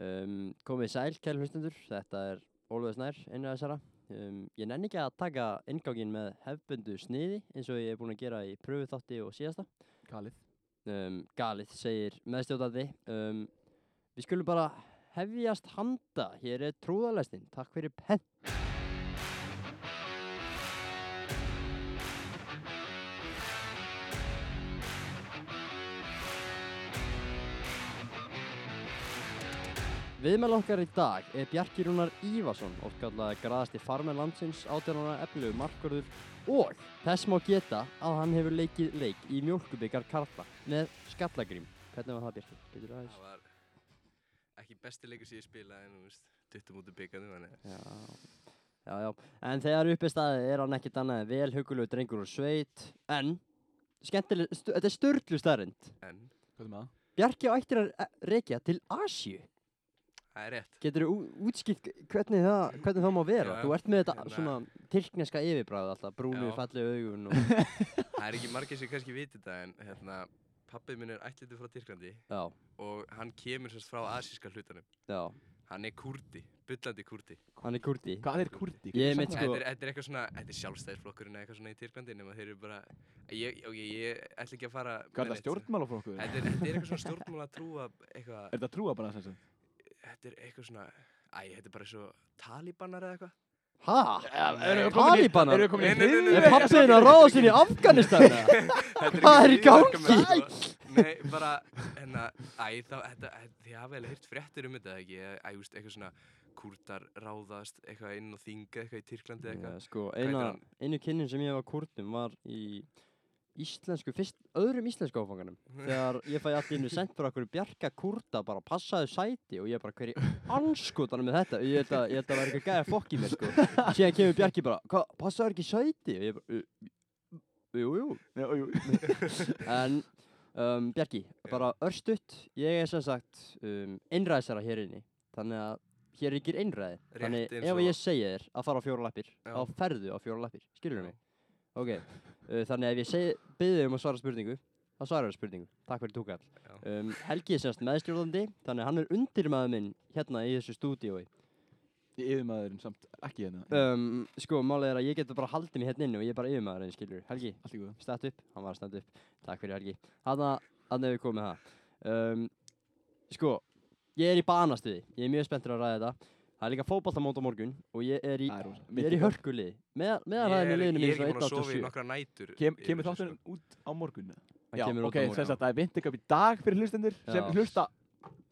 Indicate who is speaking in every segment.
Speaker 1: Um, komið sæl, kæl hlustendur, þetta er Ólfið Snær, einu af þessara. Um, ég nenni ekki að taka inngangin með hefbundu sniði eins og ég er búinn að gera í pröfu þátti og síðasta.
Speaker 2: Kalið.
Speaker 1: Um, galið segir meðstjóðandi. Um, við skulum bara hefjast handa, hér er trúðalestin, takk fyrir penn. Viðmæl okkar í dag er Bjarki Rúnar Ívason, okkallað graðasti farmenn landsins, 18 ára efnilegu markvörður og þess má geta að hann hefur leikið leik í mjölkubikar karla með skallagrím. Hvernig var það Bjarki? Getur það aðeins?
Speaker 3: Það var ekki besti leikur sem ég spilaði en þú veist, duttum út úr byggjandum þannig að
Speaker 1: Já, já, já. En þegar uppi staðið er hann ekkert annað en vel hugulegu drengur úr sveit, en skemmtileg, stu, þetta er störtlu staðrind.
Speaker 3: en
Speaker 2: Hvað er með það?
Speaker 1: Bjarki á ættir að eh, rekja til Asju.
Speaker 3: það er rétt.
Speaker 1: Getur þú útskipt hvernig það, hvernig það má vera?
Speaker 3: Já,
Speaker 1: Þú ert með þetta
Speaker 3: hérna-
Speaker 1: svona tyrkneska yfirbræð alltaf, brúnu,
Speaker 3: Já.
Speaker 1: fallegu augun og...
Speaker 3: Það er ekki margir sem kannski viti þetta en hérna, pappið minn er ætlitur frá Tyrklandi
Speaker 1: já,
Speaker 3: og hann kemur sérst frá asíska hlutanum.
Speaker 1: já.
Speaker 3: Hann er kurdi, bullandi kurdi.
Speaker 1: Hann er kurdi.
Speaker 2: Hvað er kurdi?
Speaker 1: Ég er mitt
Speaker 3: Þetta
Speaker 1: sko...
Speaker 3: er, þetta er eitthvað svona, þetta er sjálfstæðisflokkurinn eða eitthvað svona í Tyrklandi nema þeir eru bara, ég, ok, ég ætla ekki að fara.
Speaker 2: Hvað er
Speaker 1: sko.
Speaker 3: með
Speaker 2: það
Speaker 3: neitt.
Speaker 2: stjórnmálaflokkur?
Speaker 3: Þetta er, þetta er eitthvað svona stjórnmála trúa, eitthvað,
Speaker 2: Er það trúa bara þess að
Speaker 3: þetta er eitthvað svona, æ, þetta er bara svo talibanar eða eitthvað.
Speaker 1: Hæ? Talibanar?
Speaker 2: Eru við komin í
Speaker 3: Nei, nei, nei, nei,
Speaker 1: Er
Speaker 3: nei,
Speaker 2: hryðjuverk?
Speaker 1: pappiðin að ráða sinni í Afganistan? eða?
Speaker 3: Þetta
Speaker 1: Hvað er í
Speaker 3: ekki hryðjuverk,
Speaker 1: gangi?
Speaker 3: menn, sko. Nei, bara, hérna, æ, þá, þetta, þið hafa vel hýrt fréttir um þetta, ekki? Æ, þú veist, eitthvað svona, kúrtar ráðast, eitthvað inn og þinga, eitthvað í Tyrklandi, eitthvað.
Speaker 1: Já, sko,
Speaker 3: heitir
Speaker 1: eina,
Speaker 3: hann?
Speaker 1: einu kynnin sem ég hef á kúrtum var í íslensku, fyrst, öðrum íslensku áfanganum þegar ég fæ allir innu sent frá okkur bjarga kúrta bara passaðu sæti og ég bara hverju anskotanum með þetta ég held að, ég held að það væri eitthvað gæja fokk í mér sko síðan kemur bjargi bara, hvað, passaðu ekki sæti og ég bara, "Jú, jú, jú
Speaker 2: Nei, ó, jú.
Speaker 1: en um, Bjarki, bara örstutt ég er sem sagt um, einræðsara hér inni þannig að hér ríkir einræði
Speaker 3: Rétt
Speaker 1: þannig
Speaker 3: eins
Speaker 1: ef
Speaker 3: og-
Speaker 1: ég segi þér að fara á fjóra lappir
Speaker 3: Já.
Speaker 1: þá ferðu á fjóra lappir, skilur
Speaker 3: Já.
Speaker 1: mig ok, uh, þannig ef ég segi, byrði um að svara spurningu þá svarar þú spurningu, takk fyrir túkall
Speaker 3: Já.
Speaker 1: um, Helgi er semst meðstjórnandi þannig að hann er undirmaður minn hérna í þessu stúdíói
Speaker 2: Ég er yfirmaðurinn samt ekki hérna.
Speaker 1: um, sko, málið er að ég getur bara haldið mér hérna inni og ég er bara yfirmaðurinn, skilur Helgi,
Speaker 2: Allt í góðu.
Speaker 1: stætt upp, hann var að stætt upp takk fyrir Helgi, hann að við komið það um, sko ég er í banastuði, ég er mjög spenntur að ræða þetta það er líka fótballtamót á morgun og ég er í,
Speaker 2: Það er rosa.
Speaker 1: ég er í
Speaker 2: Mikið gott.
Speaker 1: hörkulið meðal með hræðinu liðinu
Speaker 3: ég
Speaker 1: mínu
Speaker 3: er ekki búin að
Speaker 1: frá
Speaker 3: sofa í
Speaker 1: 1.87
Speaker 3: nokkra nætur.
Speaker 2: Kem,
Speaker 3: yfir
Speaker 2: kemur
Speaker 3: þessu,
Speaker 2: þátturinn út á morgun?
Speaker 1: Það kemur út
Speaker 2: ok,
Speaker 1: á morgun.
Speaker 2: sem sagt, það er vintingapp í dag fyrir hlustendur sem
Speaker 1: Já.
Speaker 2: hlusta,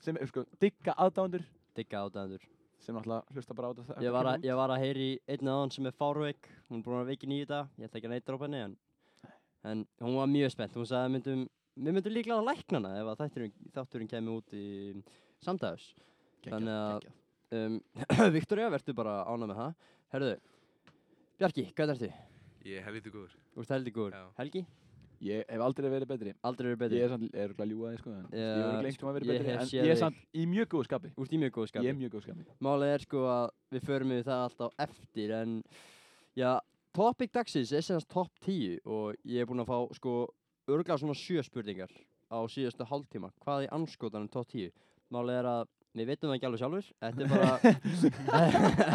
Speaker 2: sem er sko, digga aðdándur
Speaker 1: digga ádæðendur
Speaker 2: sem náttúrulega hlusta bara á þetta
Speaker 1: ég var, að, ég var að heyri einn aðan sem er fárveik hún er búin að veiki nýta, ég ætla ekki að neitra á henni en, en hún var mjög spennt hún sagði að myndum, við myndum líklega að lækna hana ef að þátturinn, þátturinn kemur út í samdæðus þannig að- um, Viktoria, verður bara ánað með það Herðu, Bjarki, hvað ertu?
Speaker 3: Ég hef lítið góður.
Speaker 1: Þú ert heldig góður
Speaker 3: Já.
Speaker 1: Helgi,
Speaker 2: Ég hef aldrei verið betri
Speaker 1: aldrei verið
Speaker 2: Ég
Speaker 1: betri
Speaker 2: er samt, er örugglega að ljúga þig sko en,
Speaker 1: Já,
Speaker 2: Ég hef örugglega einhvern tímann verið
Speaker 1: ég
Speaker 2: betri
Speaker 1: hef
Speaker 2: En
Speaker 1: séð
Speaker 2: ég
Speaker 1: þig.
Speaker 2: er samt í mjög góðu skapi
Speaker 1: Þú ert í mjög góðu
Speaker 2: Ég
Speaker 1: skapi
Speaker 2: er mjög góðu skapi
Speaker 1: Málið er sko að við förum við það alltaf eftir en já, topic dagsins er sérnast top 10 og ég er búinn að fá sko örglega svona sjö spurningar á síðustu hálftíma, hvað í anskotanum top 10 Málið er að við veitum það ekki alveg sjálfur Þetta er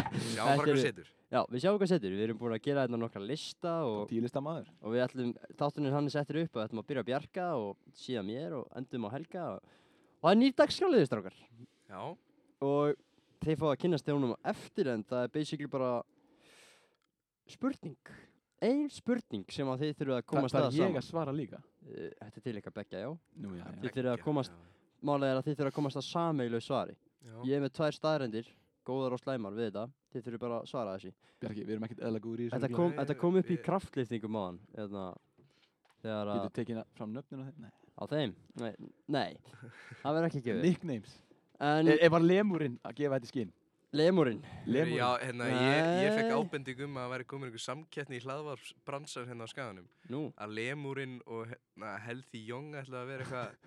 Speaker 1: bara
Speaker 3: Já, bara
Speaker 1: Þetta
Speaker 3: hvað
Speaker 1: eru-
Speaker 3: setur.
Speaker 1: Já, við sjáum hvað setur, við erum búin að gera þetta nokkra lista og,
Speaker 2: Tílista maður
Speaker 1: og við ætlum, þáttunir hann er settur upp og ætlum að byrja að bjarga og síðan mér og endum á helga og, og það er nýr dagskráliðist rákar
Speaker 3: Já,
Speaker 1: og þeir fá að kynast þjónum á eftir en það er basically bara spurning ein spurning sem að þeir þurfa að
Speaker 2: Þa,
Speaker 1: komast að
Speaker 2: Það er ég
Speaker 1: saman
Speaker 2: að svara líka
Speaker 1: Eh, Þetta er til eitthvað begja, já
Speaker 2: Nú já, já.
Speaker 1: Þið þurfið að
Speaker 3: Geggjað,
Speaker 1: komast- Málega er að þeir þurfa að komast að sameiglau svari
Speaker 3: já.
Speaker 1: Ég er með tvær staðrendir, góðar og slæmar við þetta Þeir þurfa bara að svara þessi
Speaker 2: Bjarki, við erum ekkert eðla góður í þessu
Speaker 1: Þetta
Speaker 2: örugglega.
Speaker 1: kom, þetta kom upp í
Speaker 3: Ég-
Speaker 1: kraftlýftingum á hann Þegar að
Speaker 2: Getur tekin að- fram nöfnin á þeim Nei.
Speaker 1: Á þeim? Nei, nei. það verður ekki gefið.
Speaker 2: Nicknames
Speaker 1: En
Speaker 2: Er er bara lemurinn að gefa þetta í skinn
Speaker 1: lemurinn,
Speaker 3: Heyrðu, Já,
Speaker 2: Lemurinn
Speaker 3: hérna, ég, ég fekk
Speaker 1: Nei.
Speaker 3: ábending um að það væri komin einhver samkettni í hlaðvarpsbransan hérna á skaganum.
Speaker 1: nú,
Speaker 3: Að lemurinn og hérna, Healthy Young ætlaði að vera eitthvað...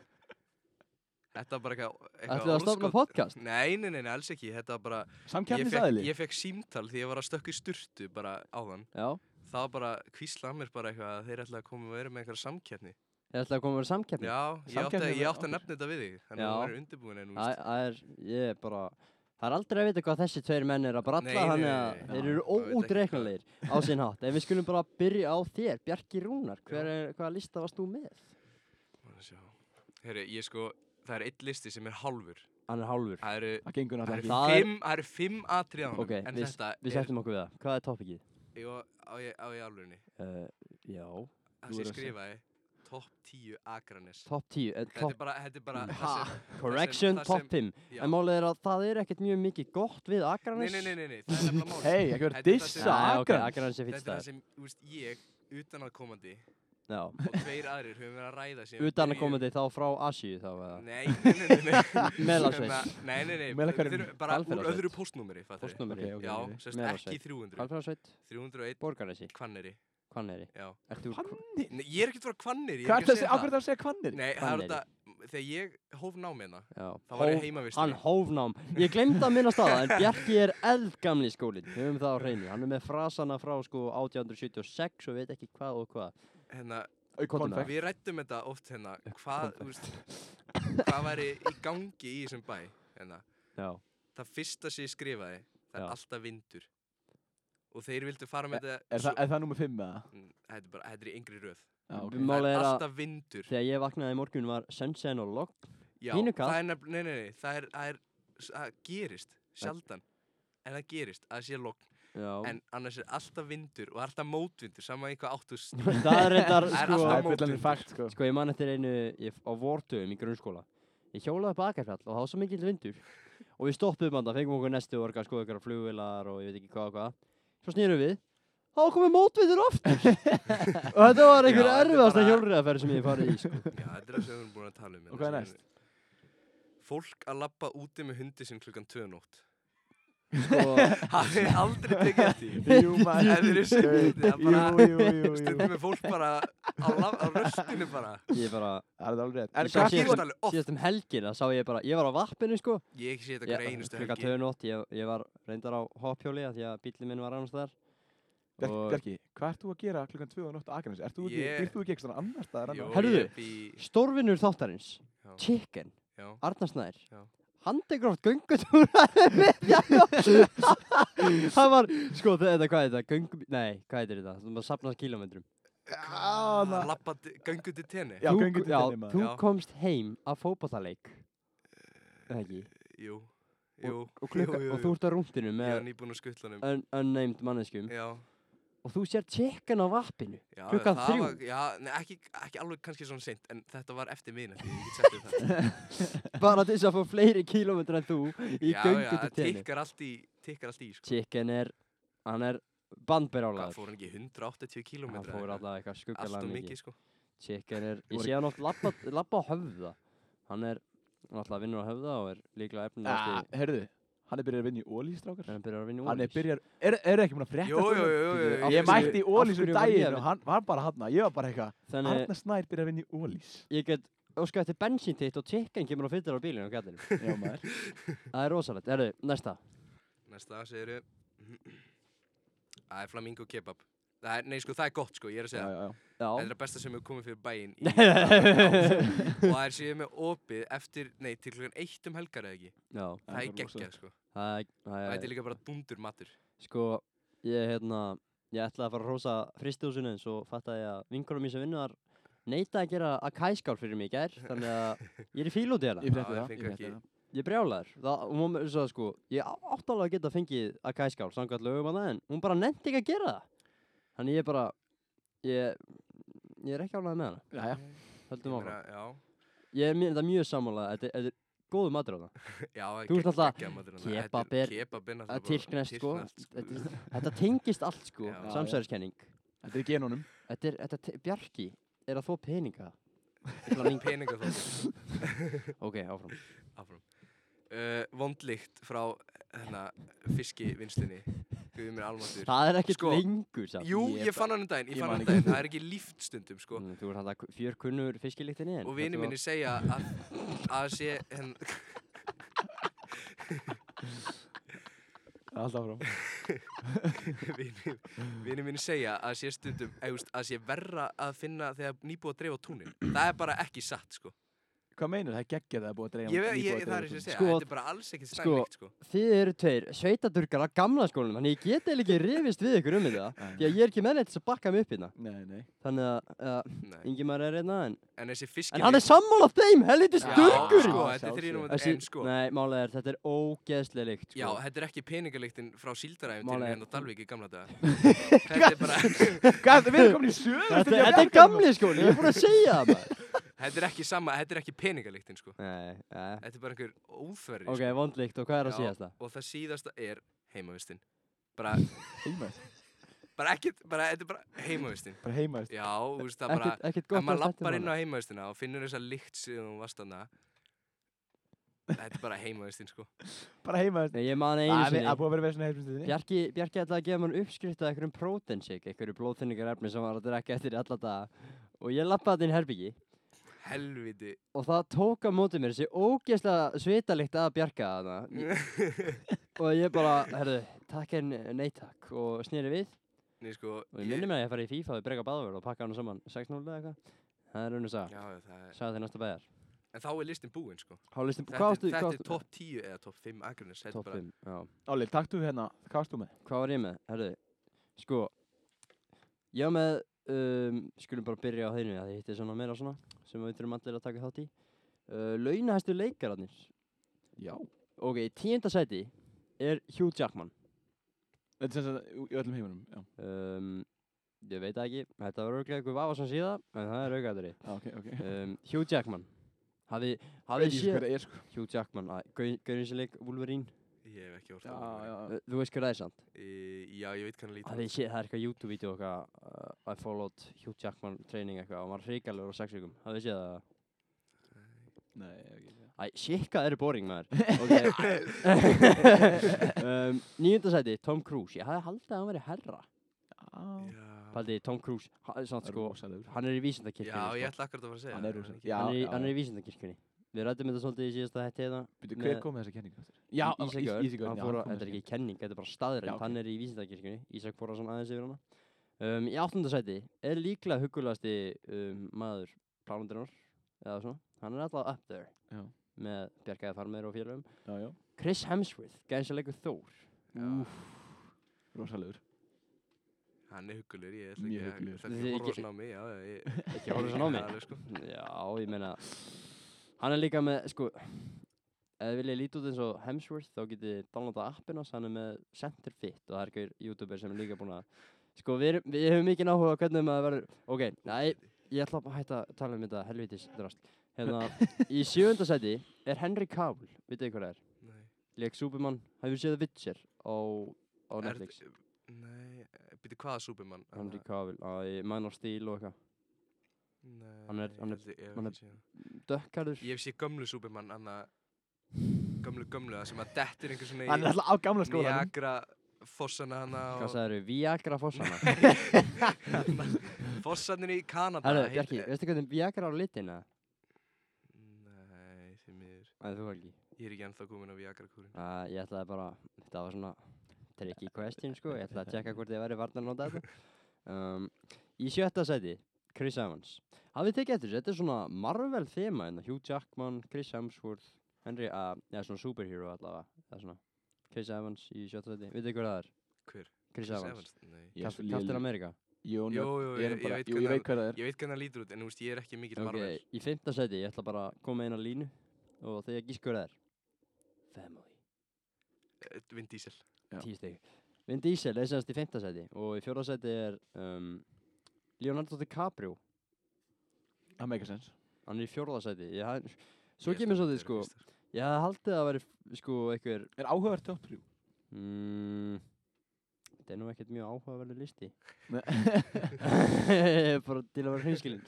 Speaker 3: Þetta var bara eitthvað... eitthvað
Speaker 1: ætlum við að stopna
Speaker 3: óskot-
Speaker 1: podcast?
Speaker 3: Nei, nei, nei, nei, alls ekki. Þetta var bara... Ég fekk,
Speaker 2: Samkeppnisæðili
Speaker 3: ég fekk símtal því ég var að stökka í sturtu bara áðan.
Speaker 1: Já,
Speaker 3: Það var bara, hvísla að mér bara eitthvað að þeir ætlaði að koma og vera með einhverja samkeppni.
Speaker 1: Ég ætla að koma að vera samkeppni.
Speaker 3: Já, ég átti,
Speaker 2: Samkeppni
Speaker 3: ég
Speaker 2: við
Speaker 3: átti að
Speaker 2: okkur.
Speaker 3: nefna þetta við þig, þannig að
Speaker 1: Já.
Speaker 3: hún verður undirbúin en þú
Speaker 1: Það
Speaker 3: veist,
Speaker 1: það er, ég er bara, það er aldrei að vita hvað þessi tveir menn er að bralla,
Speaker 3: Nei, nei,
Speaker 1: þannig
Speaker 3: nei,
Speaker 1: að
Speaker 2: nei.
Speaker 1: þeir eru
Speaker 3: maður veit
Speaker 2: Já,
Speaker 3: ekki hvað-
Speaker 1: óútreiknulegir á sinn hátt. En við skulum bara byrja á þér, Bjarki Rúnar,
Speaker 3: Já.
Speaker 1: hver er, hvaða lista varst þú með?
Speaker 3: maður að sjá. Herru, ég sko, það er eitt listi sem er hálfur.
Speaker 1: Hann er hálfur.
Speaker 3: Það eru,
Speaker 2: Það gengur
Speaker 3: það eru
Speaker 2: náttúrulega ekki.
Speaker 1: Það er-
Speaker 3: fimm, það eru fimm atriðan,
Speaker 1: Ok,
Speaker 3: en
Speaker 1: við,
Speaker 3: þetta
Speaker 1: við settum okkur við það. Hvað er toppikið?
Speaker 3: er, jó, á ég, á ég alvegni,
Speaker 1: Uh, já,
Speaker 3: það sem ég
Speaker 2: Þú verður að segja.
Speaker 3: skrifaði, topp 10 akranes.
Speaker 1: topp 10, eh,
Speaker 3: Þetta
Speaker 1: topp,
Speaker 3: er bara, þetta er bara,
Speaker 1: Ha,
Speaker 3: það sem,
Speaker 1: correction,
Speaker 3: það sem-
Speaker 1: topp 5.
Speaker 3: já.
Speaker 1: En málið er að það er ekkert mjög mikið gott við
Speaker 3: Nei,
Speaker 1: Akranes.
Speaker 3: nei, nei, nei, nei, það er nefnilega mál.
Speaker 2: Hei, ekki verið
Speaker 3: Þetta er það sem-
Speaker 2: dissa
Speaker 1: Nei, ok,
Speaker 2: akran.
Speaker 1: Akranes er
Speaker 3: Þetta
Speaker 1: fyrst
Speaker 3: er það
Speaker 1: staður.
Speaker 3: sem, þú veist, ég, utan að komandi,
Speaker 1: Já,
Speaker 3: og tveir aðrir höfum verið að ræða sem
Speaker 1: utan að koma þig þá frá Asíu þá eða?
Speaker 3: Nei, nei, nei, nei, nei.
Speaker 1: Melasveit.
Speaker 3: Hérna, Nei, nei, nei,
Speaker 2: Melahverfinu.
Speaker 3: þurfum bara úr
Speaker 1: Hvalfjarðarsveit.
Speaker 3: öðru póstnúmeri fattar við.
Speaker 1: Postnúmeri,
Speaker 2: Ok, ok.
Speaker 3: Já, sérst
Speaker 1: Melasveit.
Speaker 3: ekki 300
Speaker 1: Hvalfjörðarsveit,
Speaker 3: 301
Speaker 1: Borgarnesi,
Speaker 3: Hvanneri,
Speaker 1: Hvanneri.
Speaker 3: já
Speaker 1: Ertu úr
Speaker 2: Hvannir?
Speaker 3: Nei, Ég er ekkert frá Hvanneri ég
Speaker 2: Hvað
Speaker 3: er
Speaker 2: er
Speaker 3: ekki
Speaker 2: það að segja? Ákveður það að segja hvannir?
Speaker 3: Nei, það er
Speaker 1: Hvanneyri?
Speaker 3: þetta, þegar ég hóf námiðna
Speaker 1: Já.
Speaker 3: þá var ég
Speaker 1: Hóf-
Speaker 3: heimavist
Speaker 1: Hann hófnám. Ég glemd að minna staða, en Bjarki er eldgamli skólinn. Við höfum það á hreinu. Hann er með frasana frá sko 1876 og veit ekki hvað og hvað.
Speaker 3: hérna,
Speaker 1: Komdu með.
Speaker 2: Konfekt.
Speaker 3: Við rættum þetta oft hérna hvað,
Speaker 1: Konfekt.
Speaker 3: þú veist, hvað væri í gangi í þessum bæ hérna.
Speaker 1: Já.
Speaker 3: Það fyrsta sem ég skrifaði,
Speaker 1: Já.
Speaker 3: það er alltaf vindur og þeir vildu fara með þetta
Speaker 2: Er það er það nummer 5 eða?
Speaker 3: Mm, Þetta er bara, þetta er í yngri röð
Speaker 2: Já, ok.
Speaker 1: Við má- Málið
Speaker 3: Það
Speaker 1: er
Speaker 3: er
Speaker 1: að-
Speaker 3: alltaf vindur
Speaker 1: Þegar ég vaknaði í morgun var Sunshine og Logg.
Speaker 3: Já,
Speaker 1: Pínu kalt.
Speaker 3: það er nefn, nei, nei, nei, það er, það er, það gerist, sjaldan, en það gerist, að það sé logn,
Speaker 1: Já.
Speaker 3: en annars er alltaf vindur og alltaf mótvindur, saman eitthvað áttust,
Speaker 1: það er reyndar
Speaker 3: Það
Speaker 1: sko,
Speaker 3: er
Speaker 2: Það
Speaker 3: alltaf
Speaker 2: er fullanir
Speaker 3: mótvindur.
Speaker 2: fakt sko.
Speaker 1: sko ég man eftir einu ég, á vortöðum í grunnskóla. Ég hjólaði upp Akarfjall og það var svo mikill vindur. Og við stoppum hann, fengum okkur næstu orga, sko ykkur flugvilar og ég veit ekki hvað og hvað. Svo snýrum við. Þá komið mótviður aftur. og þetta var einhver
Speaker 3: Já, þetta er
Speaker 1: erfiðasta
Speaker 3: bara-
Speaker 1: hjólriðaferð sem ég hef farið í, sko.
Speaker 3: já, þetta er það sem við erum búin að tala um. hérna,
Speaker 2: Og hvað er
Speaker 3: sem er- Fólk að labba úti með hundi sinn klukkan 2 nótt.
Speaker 1: sko
Speaker 3: Það er aldrei tekið eftir því.
Speaker 2: Jú, maður.
Speaker 3: Það er þessi myndi, það
Speaker 2: Jú,
Speaker 3: bara,
Speaker 2: jú, jú, jú.
Speaker 3: stundum er fólk bara á, lab- á röstinu bara.
Speaker 1: Sko, ég bara
Speaker 2: Það er það alveg rétt.
Speaker 3: En
Speaker 1: Ég sá
Speaker 3: það
Speaker 1: síðast-
Speaker 3: gerist alveg oft,
Speaker 1: síðast um helgina sá ég bara ég var á vappinu sko
Speaker 3: ég hef ekki sé þetta
Speaker 1: Ég-
Speaker 3: hver einustu
Speaker 1: klukkan
Speaker 3: helgi.
Speaker 1: tvö nótt ég, ég var reyndar á hoppjóli af því að bílinn minn var annars þar
Speaker 2: Bjarki,
Speaker 1: og-
Speaker 2: Bjarki, hvað ert þú að gera klukkan 2 á nótt á Akranes? Ert þú ekki,
Speaker 3: Ég-
Speaker 2: býrð þú ekki eitthvað annar staðar
Speaker 3: Jú,
Speaker 2: annar?
Speaker 1: Herðu.
Speaker 3: ég bý-
Speaker 1: stórvinnur þáttarins
Speaker 3: já,
Speaker 1: Chicken
Speaker 3: já.
Speaker 1: Arnarsnær
Speaker 3: Já.
Speaker 1: Handegróft göngutúrar með Jakob Það var sko þetta hvað er þetta göngu nei hvað heitir þetta þú maður sapnar kilometrum
Speaker 2: Já,
Speaker 3: Að
Speaker 2: það-
Speaker 3: labba til- göngu til tenni?
Speaker 2: Já,
Speaker 1: Þú-
Speaker 2: göngu til
Speaker 1: já,
Speaker 2: tenni, maður.
Speaker 1: þú
Speaker 3: Já.
Speaker 1: komst heim af fótballaleik eða ekki
Speaker 3: Jú, jú,
Speaker 1: og, og, klukka,
Speaker 3: jú, jú,
Speaker 1: og þú
Speaker 3: jú.
Speaker 1: ert á rúndinu
Speaker 3: Ég var
Speaker 1: með
Speaker 3: nýbúinn úr skuttlanum.
Speaker 1: un, unnamed manneskum
Speaker 3: Já,
Speaker 1: og þú sér chicken á vappinu
Speaker 3: já,
Speaker 1: Klukkan
Speaker 3: það
Speaker 1: þrjú?
Speaker 3: Var, já, nei, ekki, ekki alveg kannski svona seint, en þetta var eftir miðnætti, ég get sagt þér það.
Speaker 1: bara til þess að fá fleiri kílómetra en þú í
Speaker 3: já,
Speaker 1: göngu
Speaker 3: já,
Speaker 1: til
Speaker 3: það
Speaker 1: tenni
Speaker 3: tikkar allt í, tikkar allt í, sko.
Speaker 1: Chicken er, hann er
Speaker 3: Hvað
Speaker 1: bandberálaður
Speaker 3: fór hann ekki 180 km?
Speaker 1: hann fór alltaf eitthvað
Speaker 3: Allt
Speaker 1: skuggalega
Speaker 3: og
Speaker 1: mikið
Speaker 3: mikið, sko.
Speaker 1: Chicken er, ég
Speaker 2: voru-
Speaker 1: sé hann oft labba, labba á höfða hann er náttúrulega vinnur á höfða og er líklega
Speaker 2: Ah,
Speaker 1: efnilegasti
Speaker 2: Herðu, hann er byrjað að vinna í ólýstrákar.
Speaker 1: en hann byrjar að vinna úr
Speaker 2: Hann er byrjað, er, er ekki múin að frétta?
Speaker 3: Jú,
Speaker 2: af
Speaker 3: jú,
Speaker 2: honum?
Speaker 3: jú, jú,
Speaker 1: Af
Speaker 2: Ég
Speaker 1: hverju-
Speaker 2: mætti í ólís
Speaker 1: af
Speaker 2: um
Speaker 1: hverju var ég að
Speaker 2: daginn
Speaker 1: vinna? eh,
Speaker 2: og hann var bara hann ég var bara eitthvað,
Speaker 1: þannig
Speaker 2: Arna Snær byrjað að vinna í ólís.
Speaker 1: ég get óskar eftir bensíntitt og chicken kemur og fyttir á bílinu og gætinu
Speaker 2: Já, maður.
Speaker 1: það er rosalegt, erðu, næsta
Speaker 3: Næsta segir Það er flamingo kebab. Það er, nei, sko, það er gott, sko, ég er að
Speaker 2: Já,
Speaker 3: segja.
Speaker 2: já, já.
Speaker 3: Þetta
Speaker 1: já,
Speaker 3: er það besta sem hefur komið fyrir bæinn í og það er síðan með opið eftir, nei, til klukkan eitt um helgar eða ekki.
Speaker 1: já
Speaker 3: Það er
Speaker 2: bara rosa.
Speaker 3: geggjað, sko.
Speaker 1: það er- það
Speaker 3: Þetta
Speaker 1: er
Speaker 3: er líka bara dundur matur.
Speaker 1: Sko, ég hérna, ég ætlaði að fara að rósa fristihúsinu en svo fattaði ég að vinkunum mín sem vinnuðar neita að gera að kæskál fyrir mig í gær, þannig að ég er í fíl út í
Speaker 2: Ég
Speaker 1: hérna.
Speaker 3: Já, ég
Speaker 2: frétti það,
Speaker 3: fengi
Speaker 2: ég frétti
Speaker 3: ekki-
Speaker 2: það.
Speaker 1: Ég brjálaður. Það, og hún svo sko, ég átt alveg að geta fengið að kæskál, samkvæmt lögum að það, en hún bara nefndi ekki að gera það. Þannig ég bara, ég, ég er ekki ánægð með hana,
Speaker 2: Já, já.
Speaker 1: höldum
Speaker 3: Ég
Speaker 1: áfram.
Speaker 3: meina, Já,
Speaker 1: Ég er mér þetta mjög sammálað, þetta, er- þetta er góðu matur á það.
Speaker 3: Já, það er
Speaker 1: Þú ert
Speaker 3: gegg-
Speaker 1: náttúrulega
Speaker 3: geggjað matur þarna.
Speaker 1: kebab
Speaker 3: Þetta
Speaker 1: er-
Speaker 3: kebab er náttúrulega
Speaker 1: Að
Speaker 3: bara
Speaker 1: tyrknest sko,
Speaker 3: tyrkneskt,
Speaker 1: þetta, þetta tengist allt sko,
Speaker 3: Já.
Speaker 1: samsæðiskenning.
Speaker 2: Þetta er genunum.
Speaker 1: Þetta er, þetta te- Bjarki er að þó peninga.
Speaker 3: sko. peninga þá
Speaker 1: Ok, áfram.
Speaker 3: áfram uh, vondlikt frá hérna, fiskivinslinni guðið mér almatur
Speaker 1: Það er ekkert
Speaker 3: Sko,
Speaker 1: lengur samt.
Speaker 3: jú,
Speaker 2: ég
Speaker 3: ég fann hann um daginn, ég
Speaker 2: ég
Speaker 3: fann
Speaker 2: man
Speaker 3: hann um
Speaker 2: ekki.
Speaker 3: daginn það er ekki líft stundum sko
Speaker 1: Mm, Þú ert hann að fjör kunnur fiskilíktinni en
Speaker 3: og vinið minni segja að hérna, að sé henn
Speaker 2: alltaf frá
Speaker 3: Vinni mínu segja að sé stundum eðust, að sé verra að finna þegar nýbúið að dreifa túnin Það er bara ekki satt sko
Speaker 2: Hvað meinur það? Gekkja það er búið að
Speaker 3: ég,
Speaker 2: dreyja
Speaker 3: ég, ég, Það er sem að segja,
Speaker 1: Sko,
Speaker 3: þetta er bara alls ekki
Speaker 1: sko,
Speaker 3: slæmlegt sko
Speaker 1: Þið eru tveir sveitadurkar af gamla skólanum Þannig ég get eiginlega ekki rifist við ykkur um þetta
Speaker 2: Nei.
Speaker 1: Því að ég er ekki með neitt til að bakka mig upp hérna
Speaker 2: Nei, nei
Speaker 1: Þannig að uh,
Speaker 3: Nei.
Speaker 1: Ingimar er einna en
Speaker 3: En þessi fiskir
Speaker 1: En hann er sammála þeim, helviti
Speaker 2: Já,
Speaker 1: sturgur
Speaker 3: Sko, þetta
Speaker 2: Já,
Speaker 3: er
Speaker 2: sjálfsögðu.
Speaker 3: þrýrum
Speaker 1: Þessi-
Speaker 3: en sko
Speaker 1: Nei, málega er, þetta er ógeðslega líkt
Speaker 3: Já,
Speaker 1: sko.
Speaker 3: þetta er ekki peningaliktin frá síldaræfintinu
Speaker 1: Málega-
Speaker 3: en á Dalvík í gamla daga Þetta er bara,
Speaker 2: Hvað, við erum komin í sögur
Speaker 1: Þetta, þetta
Speaker 3: sko.
Speaker 1: er gamli skóli, ég er búin að segja það maður.
Speaker 3: þetta er ekki sama, þetta er ekki peningaliktin sko
Speaker 1: Nei, nei
Speaker 3: Þetta er bara einhver óþverri
Speaker 1: Ok, vondlíkt og hvað er að
Speaker 3: Já,
Speaker 1: síðast það?
Speaker 3: Og það síðasta er heimavistin Bara,
Speaker 2: Heimaðist
Speaker 3: bara ekkert, bara, þetta er bara heimavistin
Speaker 2: Bara heimaðist
Speaker 3: Já, þú veist, það bara
Speaker 1: Ekkert, ekkert
Speaker 3: Ef
Speaker 1: gott
Speaker 3: maður
Speaker 1: að þetta
Speaker 3: lappar inn
Speaker 1: mála.
Speaker 3: á heimavistina og finnur þessa lykt síðan hún varst hana Þetta er bara heimavistin sko
Speaker 2: Bara heimaðist
Speaker 1: Nei, ég man einu
Speaker 2: Það er
Speaker 1: sinni
Speaker 2: búið að vera verið svona heimaðist
Speaker 1: Bjarki, Bjarki ætlaði að gefa mér uppskrift af einhverjum prótensik, einhverju blóðþynningarefni sem var að drekka eftir í alla daga og ég lappaði inn í herbyggi
Speaker 3: Helviti
Speaker 1: og það tók á móti mér þessi ógeðslega svitalikt að Bjarka þarna
Speaker 3: Nei
Speaker 1: og ég bara, herðu, takk en nei takk og snýri við
Speaker 3: sko
Speaker 1: og ég minni mig að ég fari í FIFA við breyka báðverð og pakka hana saman 6-0 eða eitthvað það er raun og
Speaker 3: Já,
Speaker 1: sag,
Speaker 3: já, það er
Speaker 1: sagði þér næsta bæjar
Speaker 3: En þá er listin búinn sko
Speaker 1: Hálistin,
Speaker 3: Þetta,
Speaker 1: hvað
Speaker 3: er-
Speaker 1: ástu,
Speaker 3: þetta
Speaker 1: hvað
Speaker 3: er
Speaker 1: ástu
Speaker 3: topp 10 eða topp 5 Akranes Þetta er
Speaker 1: top
Speaker 3: bara
Speaker 1: 5, já
Speaker 2: Álið, takk þú hérna Hvað varst þú með?
Speaker 1: hvað var ég með, herðu, sko ég var með um, skulum bara byrja á þeirinu að þið hitti svona meira svona sem við þurfum allir að taka þátt í uh, launahæstu leikararnir
Speaker 2: Já
Speaker 1: ok, í tíunda sæti er Hugh Jackman
Speaker 2: Þetta er sem sagt í- í öllum heiminum Já,
Speaker 1: um, ég veit það ekki, þetta var auðvitað eitthvað vafa sem síða, en það er auðvitaðri
Speaker 2: Já, ok, ok
Speaker 1: um, Hugh Jackman hafi,
Speaker 2: Veit
Speaker 1: hafi
Speaker 2: ekki
Speaker 1: séð
Speaker 2: hver það er sko
Speaker 1: Hugh Jackman, að Gaurins leik Wolverine,
Speaker 3: Ég hef ekki orðið
Speaker 2: Já,
Speaker 3: að
Speaker 2: já
Speaker 1: uh, þú veist hver það er samt
Speaker 3: Já, ég veit hvernig
Speaker 1: Hafi
Speaker 3: lítið
Speaker 1: séð, það er eitthvað YouTube-vídeó eitthvað uh, I followed Hugh Jackman training eitthvað og maður hrikalur á sexvíkum, hafið séð það
Speaker 2: Nei, ég hef ekki séð það.
Speaker 1: Æ, sikka eru boring maður Ok um, Níunda sæti, Tom Cruise Ég hafði haldið að hann verið herra
Speaker 2: Já
Speaker 3: Já,
Speaker 1: Paldi, Tom Cruise, hann, samt, sko,
Speaker 2: Rósalegur
Speaker 1: hann er í vísindakirkjunni
Speaker 3: já ég
Speaker 1: sko.
Speaker 3: ætla akkurat að fara að segja
Speaker 2: Hann er
Speaker 3: það,
Speaker 2: rosa-
Speaker 3: ekki?
Speaker 2: Já,
Speaker 1: hann, er í,
Speaker 2: já,
Speaker 1: hann er
Speaker 2: já.
Speaker 1: í vísindakirkjunni Við rættum þetta svolítið í síðasta hætti hérna
Speaker 2: Býtu,
Speaker 1: með-
Speaker 2: hver kom með þessa kenningu aftur? Já,
Speaker 1: Í- Ísakur,
Speaker 2: Ísakur,
Speaker 1: hann
Speaker 2: já,
Speaker 1: fór að,
Speaker 2: kom með
Speaker 1: þetta er
Speaker 2: þessa
Speaker 1: ekki kenning, þetta er bara staðurinn,
Speaker 2: Já, ok.
Speaker 1: hann er í vísindakirkjunni Ísak fór að svona aðeins yfir hana um, Í áttunda sæti, er líklega huggulegasti um, maður plánundurinnar eða svona, hann er alltaf up there
Speaker 2: Já.
Speaker 1: með Bjarkaði Farmeir og félagum
Speaker 2: kenningu. Já, já,
Speaker 1: Chris Hemsworth, gæðisleikur Þór
Speaker 3: Já.
Speaker 2: rosalegur
Speaker 3: Hann er huggulegur, ég ætla
Speaker 2: Mjög
Speaker 3: ekki að-
Speaker 2: huggulegur.
Speaker 3: það er ekki
Speaker 1: Þið-
Speaker 3: að horfa
Speaker 1: ég-
Speaker 3: svona á mig, já, já, ég...
Speaker 1: Ekki horfa svona á mig?
Speaker 3: Alveg, sko.
Speaker 1: Já, ég meina Hann er líka með, sko Ef þið viljið líta út eins og Hemsworth þá getið þið downloada appina hans, hann er með Centerfit og það er einhver youtuber sem er líka búinn að Sko, við, erum- við hefum mikið áhuga á hvernig maður verður Ok, nei, ég ætla að hætta að tala um þetta helvitis drast Hérna, í sjöunda sæti er Henry Cavill, vitið þið hvað það er?
Speaker 3: Nei.
Speaker 1: Leik Superman, hefur séð The Witcher á, á
Speaker 3: Er-
Speaker 1: Netflix
Speaker 3: Nei, byrju hvaða Superman?
Speaker 1: Henry Cavill, á í Man of Steel og eitthvað
Speaker 3: Nei,
Speaker 1: hann er- hann er-
Speaker 3: ég held ég- ég hef
Speaker 1: hann
Speaker 3: ekki séð hann.
Speaker 1: Dökkarður
Speaker 3: Ég hef séð gömlu Superman, hann að gömlu gömlu, það sem að dettir einhver svona
Speaker 2: Hann er
Speaker 3: í
Speaker 2: alltaf á gamla skólanum
Speaker 3: Niagara fossana hann
Speaker 1: Hvað sagðið eru? Viagra fossana
Speaker 3: að fossanir í Kanada
Speaker 1: Herru,
Speaker 3: heit-
Speaker 1: Bjarki, veistu hvernig Viagra á litina?
Speaker 3: Nei, því miður
Speaker 1: Nei, þú ekki.
Speaker 3: Ég er ekki ennþá komin á Viagra-kúrin
Speaker 1: Uh, ég ætlaði bara, þetta var svona tricky question, sko. Ég ætlaði að tjekka hvort þið væri varna að nota þetta. Um, í sjötta sæti, Chris Evans. Hafið tekið eftir, þessu? þetta er svona Marvel þema hérna. Hugh Jackman, Chris Hemsworth, Henry, uh, já, svona superhero allavega. Það er svona Chris Evans í sjötta sæti. Vitið þið hver það er?
Speaker 3: Hver?
Speaker 1: Chris, Evans.
Speaker 3: Nei
Speaker 2: Ég er svo
Speaker 1: Evans.
Speaker 2: lélegur.
Speaker 1: Captain America.
Speaker 2: Jú,
Speaker 3: Jú,
Speaker 2: nú-
Speaker 3: jú,
Speaker 2: ég er
Speaker 3: ég,
Speaker 2: um
Speaker 3: ég
Speaker 2: bara-
Speaker 3: veit
Speaker 2: jú, ég
Speaker 3: hvernig
Speaker 2: veit
Speaker 3: hann-
Speaker 2: hvað það er
Speaker 3: ég veit hvernig hann lítur út En þú veist, ég er ekki mikill
Speaker 1: Ok,
Speaker 3: Marvel
Speaker 1: í fimmta sæti, ég ætla bara að koma með eina línu og þegar ég gísk hver það er. Family.
Speaker 3: Eh, Vin Diesel
Speaker 2: Já.
Speaker 1: tíu stygg Vin Diesel er semst í fimmta sæti og í fjóra sæti er um, Leonardo DiCaprio
Speaker 2: Það make a sense
Speaker 1: hann er í fjórða sæti ég, hafði- svo
Speaker 3: Ég held
Speaker 1: kemur
Speaker 3: að
Speaker 1: svo þið
Speaker 3: þetta
Speaker 1: sko
Speaker 3: eru fyrstar.
Speaker 1: ég hafði haldið að veri sko einhver
Speaker 2: Er áhugavert top 3?
Speaker 1: mm, þetta er nú ekkert mjög áhugaverður listi
Speaker 2: Það
Speaker 1: bara til að vera hreinskilin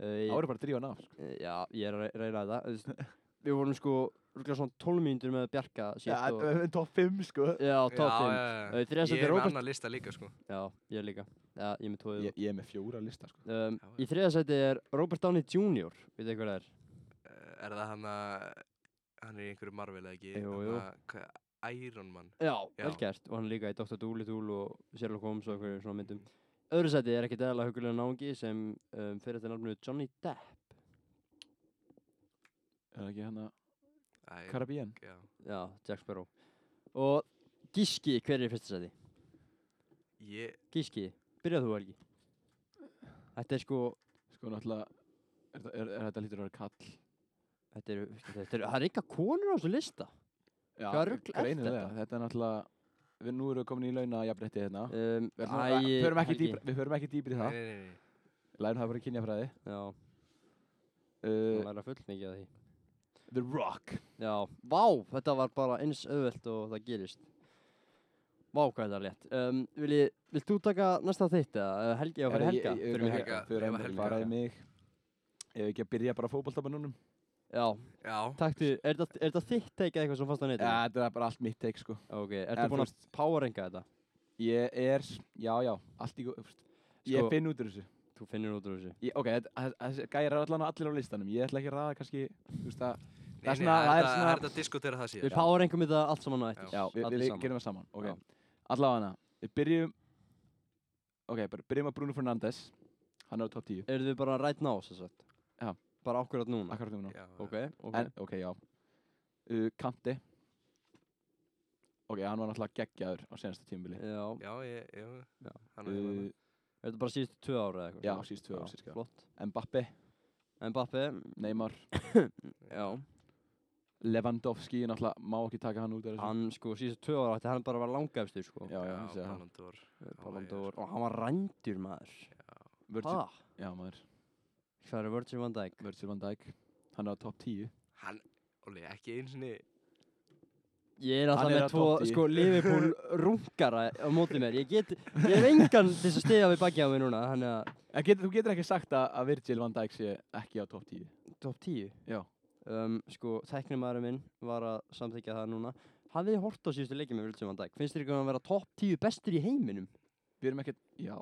Speaker 1: uh,
Speaker 2: voru bara að drífa hann af sko.
Speaker 1: já ég er að re- reyna þetta Þú veist, við vorum sko rúklega svona 12 mínútur með Bjarka
Speaker 2: Já,
Speaker 1: síðast og
Speaker 2: en top 5 sko
Speaker 1: já top
Speaker 3: Já,
Speaker 1: 5
Speaker 3: já,
Speaker 1: Eh,
Speaker 3: já.
Speaker 1: þriðja sæti
Speaker 3: Ég er með
Speaker 1: Robert-
Speaker 3: annan lista líka sko
Speaker 1: já ég líka já ég er með tóðið
Speaker 2: Ég ég er með fjóra lista sko
Speaker 1: um,
Speaker 3: Já,
Speaker 1: í þriða sæti er Robert Downey Jr. veit þið hvað það er
Speaker 3: Eh, Er það hann að Hann er í einhverju Marvel eða ekki
Speaker 1: Jú,
Speaker 3: Hann
Speaker 1: jú.
Speaker 3: að- hva- Iron Man
Speaker 1: Já,
Speaker 3: Já.
Speaker 1: vel gert og hann er líka í Dr. Doolittle og Sherlock Holmes og einhverjum svona myndum Öðru sæti er ekkert eðalega hugulega náungi sem um, fyrir þetta nafnu Johnny Depp
Speaker 2: Er það ekki hann að
Speaker 3: Æ,
Speaker 2: Karabíjan?
Speaker 3: já.
Speaker 1: Já, Jack Sparrow Og Gíski, hver er í fyrsta sæti?
Speaker 3: Ég,
Speaker 1: Gíski, byrjað þú Helgi Þetta er sko,
Speaker 2: Sko náttúrulega Er, það- er, er þetta lítur að vera kall
Speaker 1: þetta er, þetta er, það er eitthvað konur á þessu lista
Speaker 2: Já,
Speaker 1: Hvaða rugl er
Speaker 2: greinilega.
Speaker 1: þetta?
Speaker 2: Þetta er náttúrulega Við nú erum við komin í launa jafnrétti hérna
Speaker 1: um,
Speaker 2: Við, ætlum að-
Speaker 1: æ,
Speaker 2: förum ekki
Speaker 1: Helgi.
Speaker 2: dýpra- við förum ekki dýbri í
Speaker 3: nei,
Speaker 2: það
Speaker 3: nei, nei, nei.
Speaker 2: Lærum það bara kynjafræði
Speaker 1: Já,
Speaker 2: uh,
Speaker 1: það er að full mikið af því
Speaker 2: The Rock
Speaker 1: Já, vá, þetta var bara eins auðvelt og það gerist. Vá, hvað þetta er létt. Um, vil ég, vilt þú taka næsta þitt eða eða Helgi á fyrir
Speaker 2: Herra, ég-
Speaker 1: Helga?
Speaker 2: ég-
Speaker 1: Fyrir
Speaker 2: ég-
Speaker 1: mig.
Speaker 3: Helga.
Speaker 2: Fyrir
Speaker 3: Eva
Speaker 2: Helga
Speaker 3: Helga.
Speaker 2: Bara í mig Ef ekki að byrja bara fótboltabannunum
Speaker 1: Já,
Speaker 3: Já,
Speaker 1: takk til, er þetta- er þetta þitt teikað eitthvað sem fannst á
Speaker 2: Já,
Speaker 1: netinu?
Speaker 2: þetta er bara allt mitt teik sko
Speaker 1: Ok,
Speaker 2: En
Speaker 1: ertu búin að
Speaker 2: fyrst-
Speaker 1: powerrenga þetta?
Speaker 2: Ég er, já, já, allt í góð Ég
Speaker 1: Sko-
Speaker 2: finn út úr þessu
Speaker 1: Þú finnir út úr þessu.
Speaker 2: ég, Ok, þetta- þess- þessi gæjar er allan allir á listanum Ég ætla ekki að raða kannski, þú veist að
Speaker 3: nei,
Speaker 2: Það er
Speaker 3: nei,
Speaker 2: svona- það er
Speaker 3: þetta-
Speaker 2: svona-
Speaker 3: það er þetta að diskutera það
Speaker 1: Við
Speaker 3: síðan
Speaker 1: powerrengum þetta allt saman á eftir.
Speaker 2: Já, við,
Speaker 1: allir
Speaker 2: við
Speaker 1: saman.
Speaker 2: gerum það saman Ok,
Speaker 1: Já.
Speaker 2: allavega hana Við byrjum Ok, bara byrjum að Bruno Fernandes Hann er á top 10
Speaker 1: Eru þið bara right now, svo sagt?
Speaker 2: Já.
Speaker 1: Bara akkurat núna?
Speaker 2: Akkurat núna
Speaker 3: Já,
Speaker 1: Ok, ok.
Speaker 2: En, ok, já uh, Kanti Ok, hann var náttúrulega geggjaður á senasta tímubili
Speaker 1: já,
Speaker 3: Já, ég, já,
Speaker 1: Já.
Speaker 3: hann er
Speaker 2: uh,
Speaker 1: er þetta bara síðustu tvö ára eða eitthvað?
Speaker 2: Já,
Speaker 1: svona?
Speaker 2: síðust tvö ár sérska
Speaker 1: Flott.
Speaker 2: Mbappe,
Speaker 1: Mbappe,
Speaker 2: Uh, Neymar
Speaker 1: já.
Speaker 2: Lewandowski, náttúrulega má ekki taka hann út af þessu.
Speaker 1: hann sko síðustu tvö ára ætti hann bara að vera langæfstur sko
Speaker 2: Já, já, já, já.
Speaker 3: Ballon d'Or
Speaker 1: Eh,
Speaker 3: Já,
Speaker 1: Ballon
Speaker 3: já,
Speaker 1: d'Or og hann var rændur maður
Speaker 2: Virgil,
Speaker 1: ha?
Speaker 2: já maður,
Speaker 1: hvað er Virgil van Dijk
Speaker 2: Virgil van Dijk Hann er á top 10
Speaker 3: Hann, Óli, ekki einu sinni
Speaker 1: ég er
Speaker 2: Hann
Speaker 1: alltaf
Speaker 2: er
Speaker 1: með
Speaker 2: á
Speaker 1: tvo
Speaker 2: topp tíu.
Speaker 1: sko Liverpool rungara á móti mér ég get ég hef engan til þess að stiðja við baki á mig núna hann er
Speaker 2: En get, þú getur ekki sagt að, að Virgil van Dijk sé ekki á top 10
Speaker 1: top 10
Speaker 2: Já,
Speaker 1: um, sko teknimaðurinn minn var að samþykja það núna hafið þið hort á síðustu leikið með Virgil van Dijk finnst þér ekki að hann vera top 10 bestur í heiminum
Speaker 2: við erum ekkert, já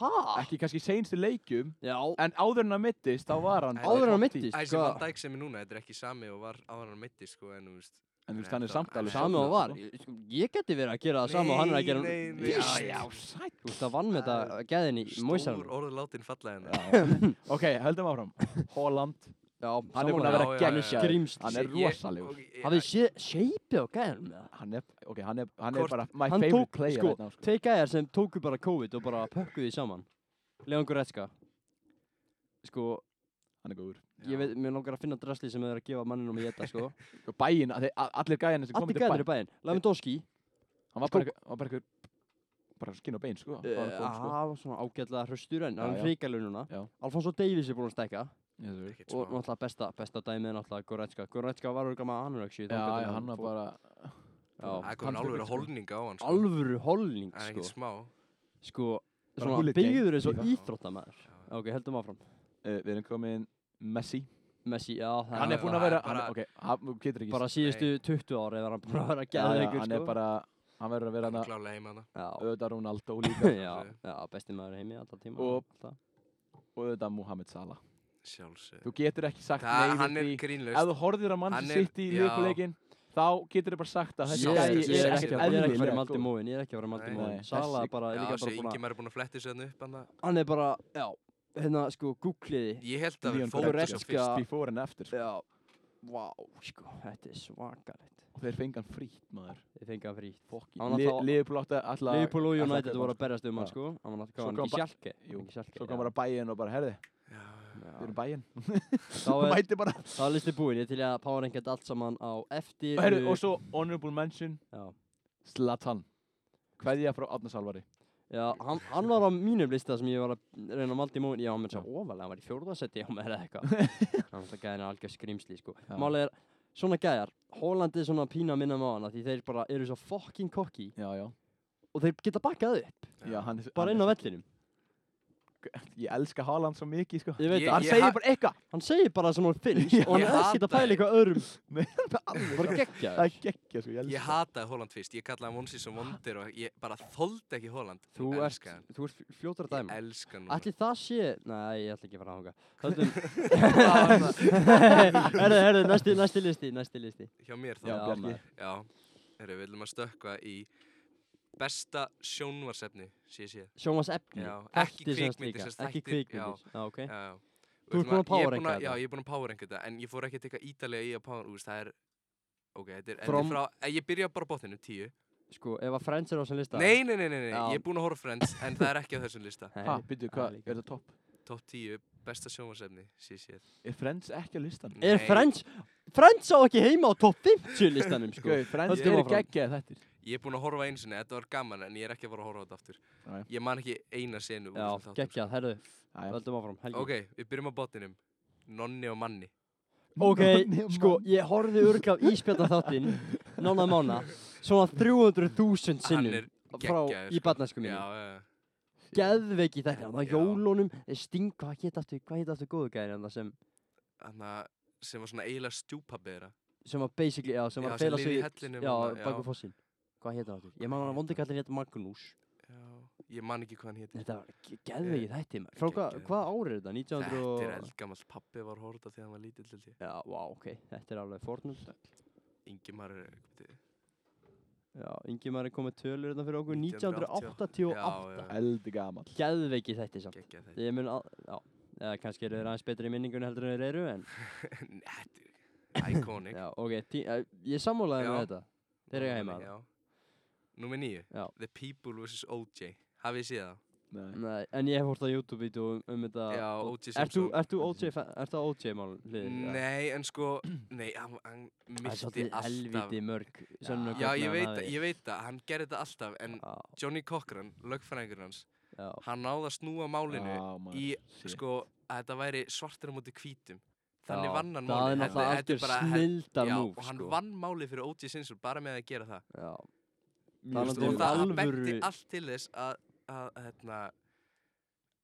Speaker 1: ha?
Speaker 2: Ekki kannski seinstu leikjum
Speaker 1: já
Speaker 2: En áður en hann mittist, þá var hann
Speaker 1: áður en
Speaker 2: á
Speaker 1: hann
Speaker 2: topp 10.
Speaker 1: mittist
Speaker 3: Æsir
Speaker 1: sko.
Speaker 3: Van Dijk sem er núna, þetta er ekki sami og var áður hann mitti sko en þú veist
Speaker 2: En þú veist, hann er samt alveg
Speaker 1: sami og
Speaker 2: sofnaður,
Speaker 1: var
Speaker 2: sko.
Speaker 1: ég, sko, ég geti verið að gera það sama og hann er að gera
Speaker 3: Nei, nei, nei.
Speaker 1: Víst.
Speaker 3: Já, já,
Speaker 2: sætt
Speaker 1: Þú veist að vann með þetta gæðin í
Speaker 3: Stór
Speaker 1: móisaranum.
Speaker 3: orðu látin falla hérna. hennar
Speaker 2: Ok, höldum áfram Holland
Speaker 1: Já,
Speaker 2: Hann er búinn að
Speaker 1: sammála.
Speaker 2: vera
Speaker 3: Já, já, já, já.
Speaker 2: geggjaður
Speaker 1: Skrýmsl.
Speaker 2: Hann er rosalegur
Speaker 1: Hafið þið séð shapeið á gæðinum með það?
Speaker 2: Hann er, ok, hann er, hann
Speaker 3: Hvort-
Speaker 2: er bara my
Speaker 1: hann
Speaker 2: favorite
Speaker 1: tók,
Speaker 2: player
Speaker 1: sko,
Speaker 2: right now, sko.
Speaker 1: Tvei gæjar sem tóku bara COVID og bara pökkuðu því saman. Leon Goretzka. Sko,
Speaker 2: Hann er góður
Speaker 1: ég veit, mér langar að finna drasli sem þau eru að gefa manninum að geta, sko.
Speaker 2: Sko, Bæin, að þeir- a- allir gæjarnir sem komið
Speaker 1: Allir
Speaker 2: til
Speaker 1: gæjar
Speaker 2: bæin
Speaker 1: eru í bæinn. Lewandowski.
Speaker 2: Hann var bara, eitthvað- hann var bara, eitthvað- bara skinn og bein, sko
Speaker 1: eh,
Speaker 2: Hann fór, sko.
Speaker 1: Hann var svona ágætlega hraustur en
Speaker 2: Já,
Speaker 1: hann
Speaker 2: já.
Speaker 1: er hrikalur núna.
Speaker 2: Já.
Speaker 1: Alfonso Davies er búinn að stækka
Speaker 2: Ég veit.
Speaker 1: og náttúrulega besta, besta dæmið er náttúrulega Goretzka. Goretzka var örgama anorexíu.
Speaker 2: Já, já, hann var bara
Speaker 3: Það kom
Speaker 2: Hann-
Speaker 3: alveg holninga á hann sko
Speaker 1: Alvöru holning,
Speaker 3: Það er
Speaker 1: sko.
Speaker 3: ekkert smá
Speaker 1: sko,
Speaker 2: Bara
Speaker 1: svona
Speaker 2: hooligan,
Speaker 1: byggður eins og
Speaker 2: pípa.
Speaker 1: íþróttamæður.
Speaker 3: Já.
Speaker 1: Ok, heldum áfram.
Speaker 2: uh, Við erum komin Messi
Speaker 1: Messi, já, það
Speaker 2: Hann er
Speaker 3: já,
Speaker 2: búinn að
Speaker 3: hann
Speaker 2: vera
Speaker 3: er
Speaker 2: hann er-
Speaker 3: bara-
Speaker 2: Ok, hann getur ekki
Speaker 1: bara síðustu 20 ári var hann búinn að vera
Speaker 2: Já, já,
Speaker 1: gæðveikur, sko.
Speaker 2: Hann er bara Hann verður að vera
Speaker 3: Hann
Speaker 2: hann
Speaker 3: er klálega heima þarna
Speaker 1: Já,
Speaker 2: Öðar Ronaldo líka
Speaker 1: já, já, besti maður í heimi alltaf tíma.
Speaker 2: sko. Og-
Speaker 1: alltaf.
Speaker 2: Og öðar Mohamed Salah
Speaker 3: Sjálfsög
Speaker 2: Þú getur ekki sagt
Speaker 3: Það,
Speaker 2: nei
Speaker 3: hann er
Speaker 2: við því Ef
Speaker 3: grínlaust
Speaker 2: þú horfir að mann
Speaker 3: Hann er-
Speaker 2: sitt í
Speaker 3: já.
Speaker 2: leikuleikin Þá getur þau bara sagt að
Speaker 1: Ég,
Speaker 2: þessi
Speaker 3: Sá-
Speaker 1: ég, ég
Speaker 2: gæi
Speaker 1: er ekki að ég er ekki að fara í
Speaker 2: eðlilega
Speaker 1: Maldi
Speaker 2: góður.
Speaker 1: Móin, ég er ekki að fara í Maldi
Speaker 3: Nei.
Speaker 1: Móin.
Speaker 2: Nei.
Speaker 1: Sala
Speaker 2: Þessi-
Speaker 1: bara, er
Speaker 3: Já,
Speaker 1: líka
Speaker 3: þessi
Speaker 1: bara búinn að,
Speaker 3: Ingimar er búin að fletti sér hann upp hann
Speaker 1: hann er bara, já, hérna, sko, googliði,
Speaker 3: Ég held að
Speaker 2: Leon
Speaker 3: við fórum
Speaker 2: Goretzka.
Speaker 3: þessu fyrst
Speaker 2: Before and after sko.
Speaker 1: já, vá, sko, þetta er svakalegt.
Speaker 2: Og þeir fengi hann frýtt maður
Speaker 1: Ég fengi hann frýtt.
Speaker 2: Fokkin
Speaker 1: Hann alltaf-
Speaker 2: Leifupúl átti alltaf
Speaker 1: Leifupúl og
Speaker 2: ætla að
Speaker 1: United
Speaker 2: kaupa
Speaker 1: voru
Speaker 2: hann,
Speaker 1: að berjast um hann,
Speaker 2: Já.
Speaker 1: sko. Hann var
Speaker 2: Svo
Speaker 1: náttúrulega
Speaker 2: kom
Speaker 1: ekki
Speaker 2: bara-
Speaker 1: sjálke.
Speaker 2: Jú,
Speaker 1: ekki sjálke.
Speaker 2: Svo kom bara bæinn og bara herði
Speaker 3: Já,
Speaker 2: Við erum bæinn
Speaker 1: Þá
Speaker 2: Þú
Speaker 1: er,
Speaker 2: mæti bara
Speaker 1: þá er listi búin, ég er til í að power ranka þetta allt saman á eftir.
Speaker 2: Og herðu, og svo honorable mention
Speaker 1: Já.
Speaker 2: Zlatan Kveðja frá Átna Salvari
Speaker 1: Já, hann, hann var á mínum lista sem ég var að reyna að malda í móin, já, menn svo ofalega, hann var í fjórðarsetti hjá mér eða eitthvað. Hann alltaf gæðin er algjör skrimsli, sko.
Speaker 2: Já.
Speaker 1: Málið er, svona gæjar, Hólandi er svona pína minna með hana því þeir bara eru svo fucking kokki
Speaker 2: Já, já
Speaker 1: og þeir geta bakkað upp,
Speaker 2: Já, hann er
Speaker 1: bara inn á
Speaker 2: hann er-
Speaker 1: vellinum.
Speaker 2: Ég elska Haaland svo mikið, sko
Speaker 1: Ég veit
Speaker 3: Ég-
Speaker 1: það, hann,
Speaker 2: Hann
Speaker 3: ég-
Speaker 2: segir
Speaker 3: ha-
Speaker 2: bara eitthvað
Speaker 1: seg- hann segir bara sem hann finnst og hann
Speaker 3: Ég
Speaker 1: er ekkert
Speaker 3: hata
Speaker 1: að pæla
Speaker 3: þig.
Speaker 1: eitthvað öðrum,
Speaker 2: Nei, hann er alveg
Speaker 1: bara
Speaker 2: Það
Speaker 1: geggjaður.
Speaker 2: er geggja, sko, ég elska
Speaker 3: Ég hataði Holland fyrst, ég kallaði hann vonsis og vondir og ég bara þoldi ekki Holland
Speaker 1: Þú
Speaker 3: Ég
Speaker 1: ert,
Speaker 3: elska hann.
Speaker 1: þú ert fljótur að
Speaker 3: Ég
Speaker 1: dæma.
Speaker 3: elska hann núna.
Speaker 1: Ætli það sé, nei, ég ætla ekki að fara að hanga. Höldum,
Speaker 3: Hvað var það?
Speaker 1: herðu, herðu, næsti, næsti listi, næsti listi.
Speaker 3: Hjá mér þá
Speaker 2: Já,
Speaker 1: Já,
Speaker 2: Bjarki
Speaker 1: maður.
Speaker 3: Já, Herru, við viljum að stökkva í besta sjónvarsefni, sé ég sé.
Speaker 1: Sjómas efni
Speaker 3: Já, ekki kvikmyndir, sem sagt,
Speaker 1: Ekki
Speaker 3: þættir,
Speaker 1: kvikmyndir, já, ok
Speaker 3: Já, já.
Speaker 1: Eh? Þú ert
Speaker 3: Veitum að-
Speaker 1: búin að
Speaker 3: ég er búin
Speaker 1: powerranka
Speaker 3: Já,
Speaker 1: þetta?
Speaker 3: ég er búin að powerranka þetta, en ég fór ekki að teka ítalega í að powerranka, þú veist, það er, ok, þetta er, þetta
Speaker 1: From-
Speaker 3: er frá, eh, ég byrja bara á botninu, tíu.
Speaker 1: Sko, ef að Friends er á þessum lista
Speaker 3: Nei, nei, nei, nei, nei,
Speaker 1: Já.
Speaker 3: ég er búin að horfa á Friends, en það er ekki á þessum lista.
Speaker 2: Ha, byrju,
Speaker 1: það er
Speaker 2: hvað,
Speaker 1: líka.
Speaker 2: er þetta topp?
Speaker 3: Top 10, besta sjónvarsefni, sé ég sé.
Speaker 2: Er Friends ekki á listan?
Speaker 1: Er
Speaker 3: Nei.
Speaker 1: Friends Friends á ekki heima á top 50 listanum, sko
Speaker 2: Gauð, Friends
Speaker 1: Höldum
Speaker 2: eru
Speaker 1: áfram.
Speaker 2: geggjað þættir.
Speaker 3: Ég er búin að horfa einu sinni, þetta var gaman, en ég er ekki að fara að horfa á þetta aftur.
Speaker 2: Nei.
Speaker 3: Ég man ekki eina senu úr
Speaker 1: Já,
Speaker 3: þessum þáttum,
Speaker 1: geggjað, herðu,
Speaker 2: Jæja.
Speaker 1: völdum áfram,
Speaker 3: sko.
Speaker 1: helgi
Speaker 3: Ok, við byrjum á botninum. Nonni og manni.
Speaker 1: Ok,
Speaker 2: Nonni og
Speaker 1: sko,
Speaker 2: mann.
Speaker 1: ég horfði örglaf íspjönda þáttinn Nána mána Svona 300.000 sinnum
Speaker 3: Hann er
Speaker 1: Frá
Speaker 3: geggjaður,
Speaker 1: í
Speaker 3: sko.
Speaker 1: barnasku
Speaker 3: Já,
Speaker 1: mínu
Speaker 3: já, já.
Speaker 1: Geðveiki þetta, hann á
Speaker 3: Já.
Speaker 1: jólunum eh, Sting, hvað geta aftur, hvað geta aftur góðu gæri hann sem,
Speaker 3: Þannig sem var svona eiginlega stjúpabbi þeirra.
Speaker 1: sem var basically, já, sem
Speaker 3: Já,
Speaker 1: var að
Speaker 3: sem
Speaker 1: fela
Speaker 3: lifði
Speaker 1: sig
Speaker 3: í
Speaker 1: í-
Speaker 3: hellinum
Speaker 1: Já,
Speaker 3: þarna, já.
Speaker 1: baku fossin Hvað hétt hann aftur? Ég man að vondi kallir hétt Magnús
Speaker 3: Já, ég man ekki hvað hann hétt.
Speaker 1: Þetta var ge- geðveiki þætti maður. Frá hvað
Speaker 3: Eh, Geggjaður.
Speaker 1: hva árið er þetta? 1900
Speaker 3: Þetta er
Speaker 1: og-
Speaker 3: eldgamall. Pappi var horta þegar hann var lítill, held ég.
Speaker 1: Já, vá, ok, þetta er alveg fornult
Speaker 3: Ingimar eh, er...
Speaker 1: Já, Ingimar er komið tölur hérna fyrir okkur
Speaker 3: 1988.
Speaker 1: 1988
Speaker 2: Eldi gaman.
Speaker 1: Geðveiki þætti samt
Speaker 3: Gekkja þetta.
Speaker 1: Ég mun að, já, eða kannski eru þeir aðeins betri í minningunni heldur en þeir eru en
Speaker 3: Þetta er iconic.
Speaker 1: Já, ok, tí, uh, ég sammálaði með
Speaker 3: Já.
Speaker 1: þetta Þeir eru heima
Speaker 3: Já. Númer níu.
Speaker 1: Já.
Speaker 3: The People vs. OJ. Hafið þið séð það?
Speaker 2: Nei.
Speaker 1: Nei, en ég hef hort á YouTube-vídeó um, um þetta
Speaker 3: Já,
Speaker 1: og-
Speaker 3: O.J.
Speaker 1: Ert þú,
Speaker 3: Simpson.
Speaker 1: ert þú OJ, fa- ert þú OJ mál hlið?
Speaker 3: Nei, en sko... Nei, hann,
Speaker 1: Það
Speaker 3: hann
Speaker 1: er
Speaker 3: misti
Speaker 1: svolítið
Speaker 3: alltaf...
Speaker 1: helviti mörg sönnun og
Speaker 3: Já,
Speaker 1: gögn
Speaker 3: ég
Speaker 1: að
Speaker 3: veit,
Speaker 1: hann
Speaker 3: það,
Speaker 1: hafi.
Speaker 3: ég veit það. Hann gerði þetta alltaf, en
Speaker 1: Já,
Speaker 3: Johnny Cochran, lögfræðingur hans,
Speaker 1: já,
Speaker 3: hann náði að snúa
Speaker 1: Ah,
Speaker 3: málinu
Speaker 2: Já, maður,
Speaker 3: í,
Speaker 2: shit.
Speaker 3: sko, að þetta væri svartir á móti hvítum. Þannig
Speaker 1: já.
Speaker 3: vann hann
Speaker 1: Það er
Speaker 3: málið.
Speaker 1: náttúrulega
Speaker 3: Þetta- þetta
Speaker 1: algjör
Speaker 3: bara-
Speaker 1: snildar
Speaker 3: Já,
Speaker 1: múf,
Speaker 3: og hann
Speaker 1: sko
Speaker 3: vann málið fyrir O.J. Simpson bara með að gera það.
Speaker 1: Já,
Speaker 2: Mjög
Speaker 1: Talandi um
Speaker 3: Þú veist,
Speaker 2: sniðugt.
Speaker 3: og það
Speaker 1: alvöru-
Speaker 3: alvöru... benti allt til þess að, að, hérna,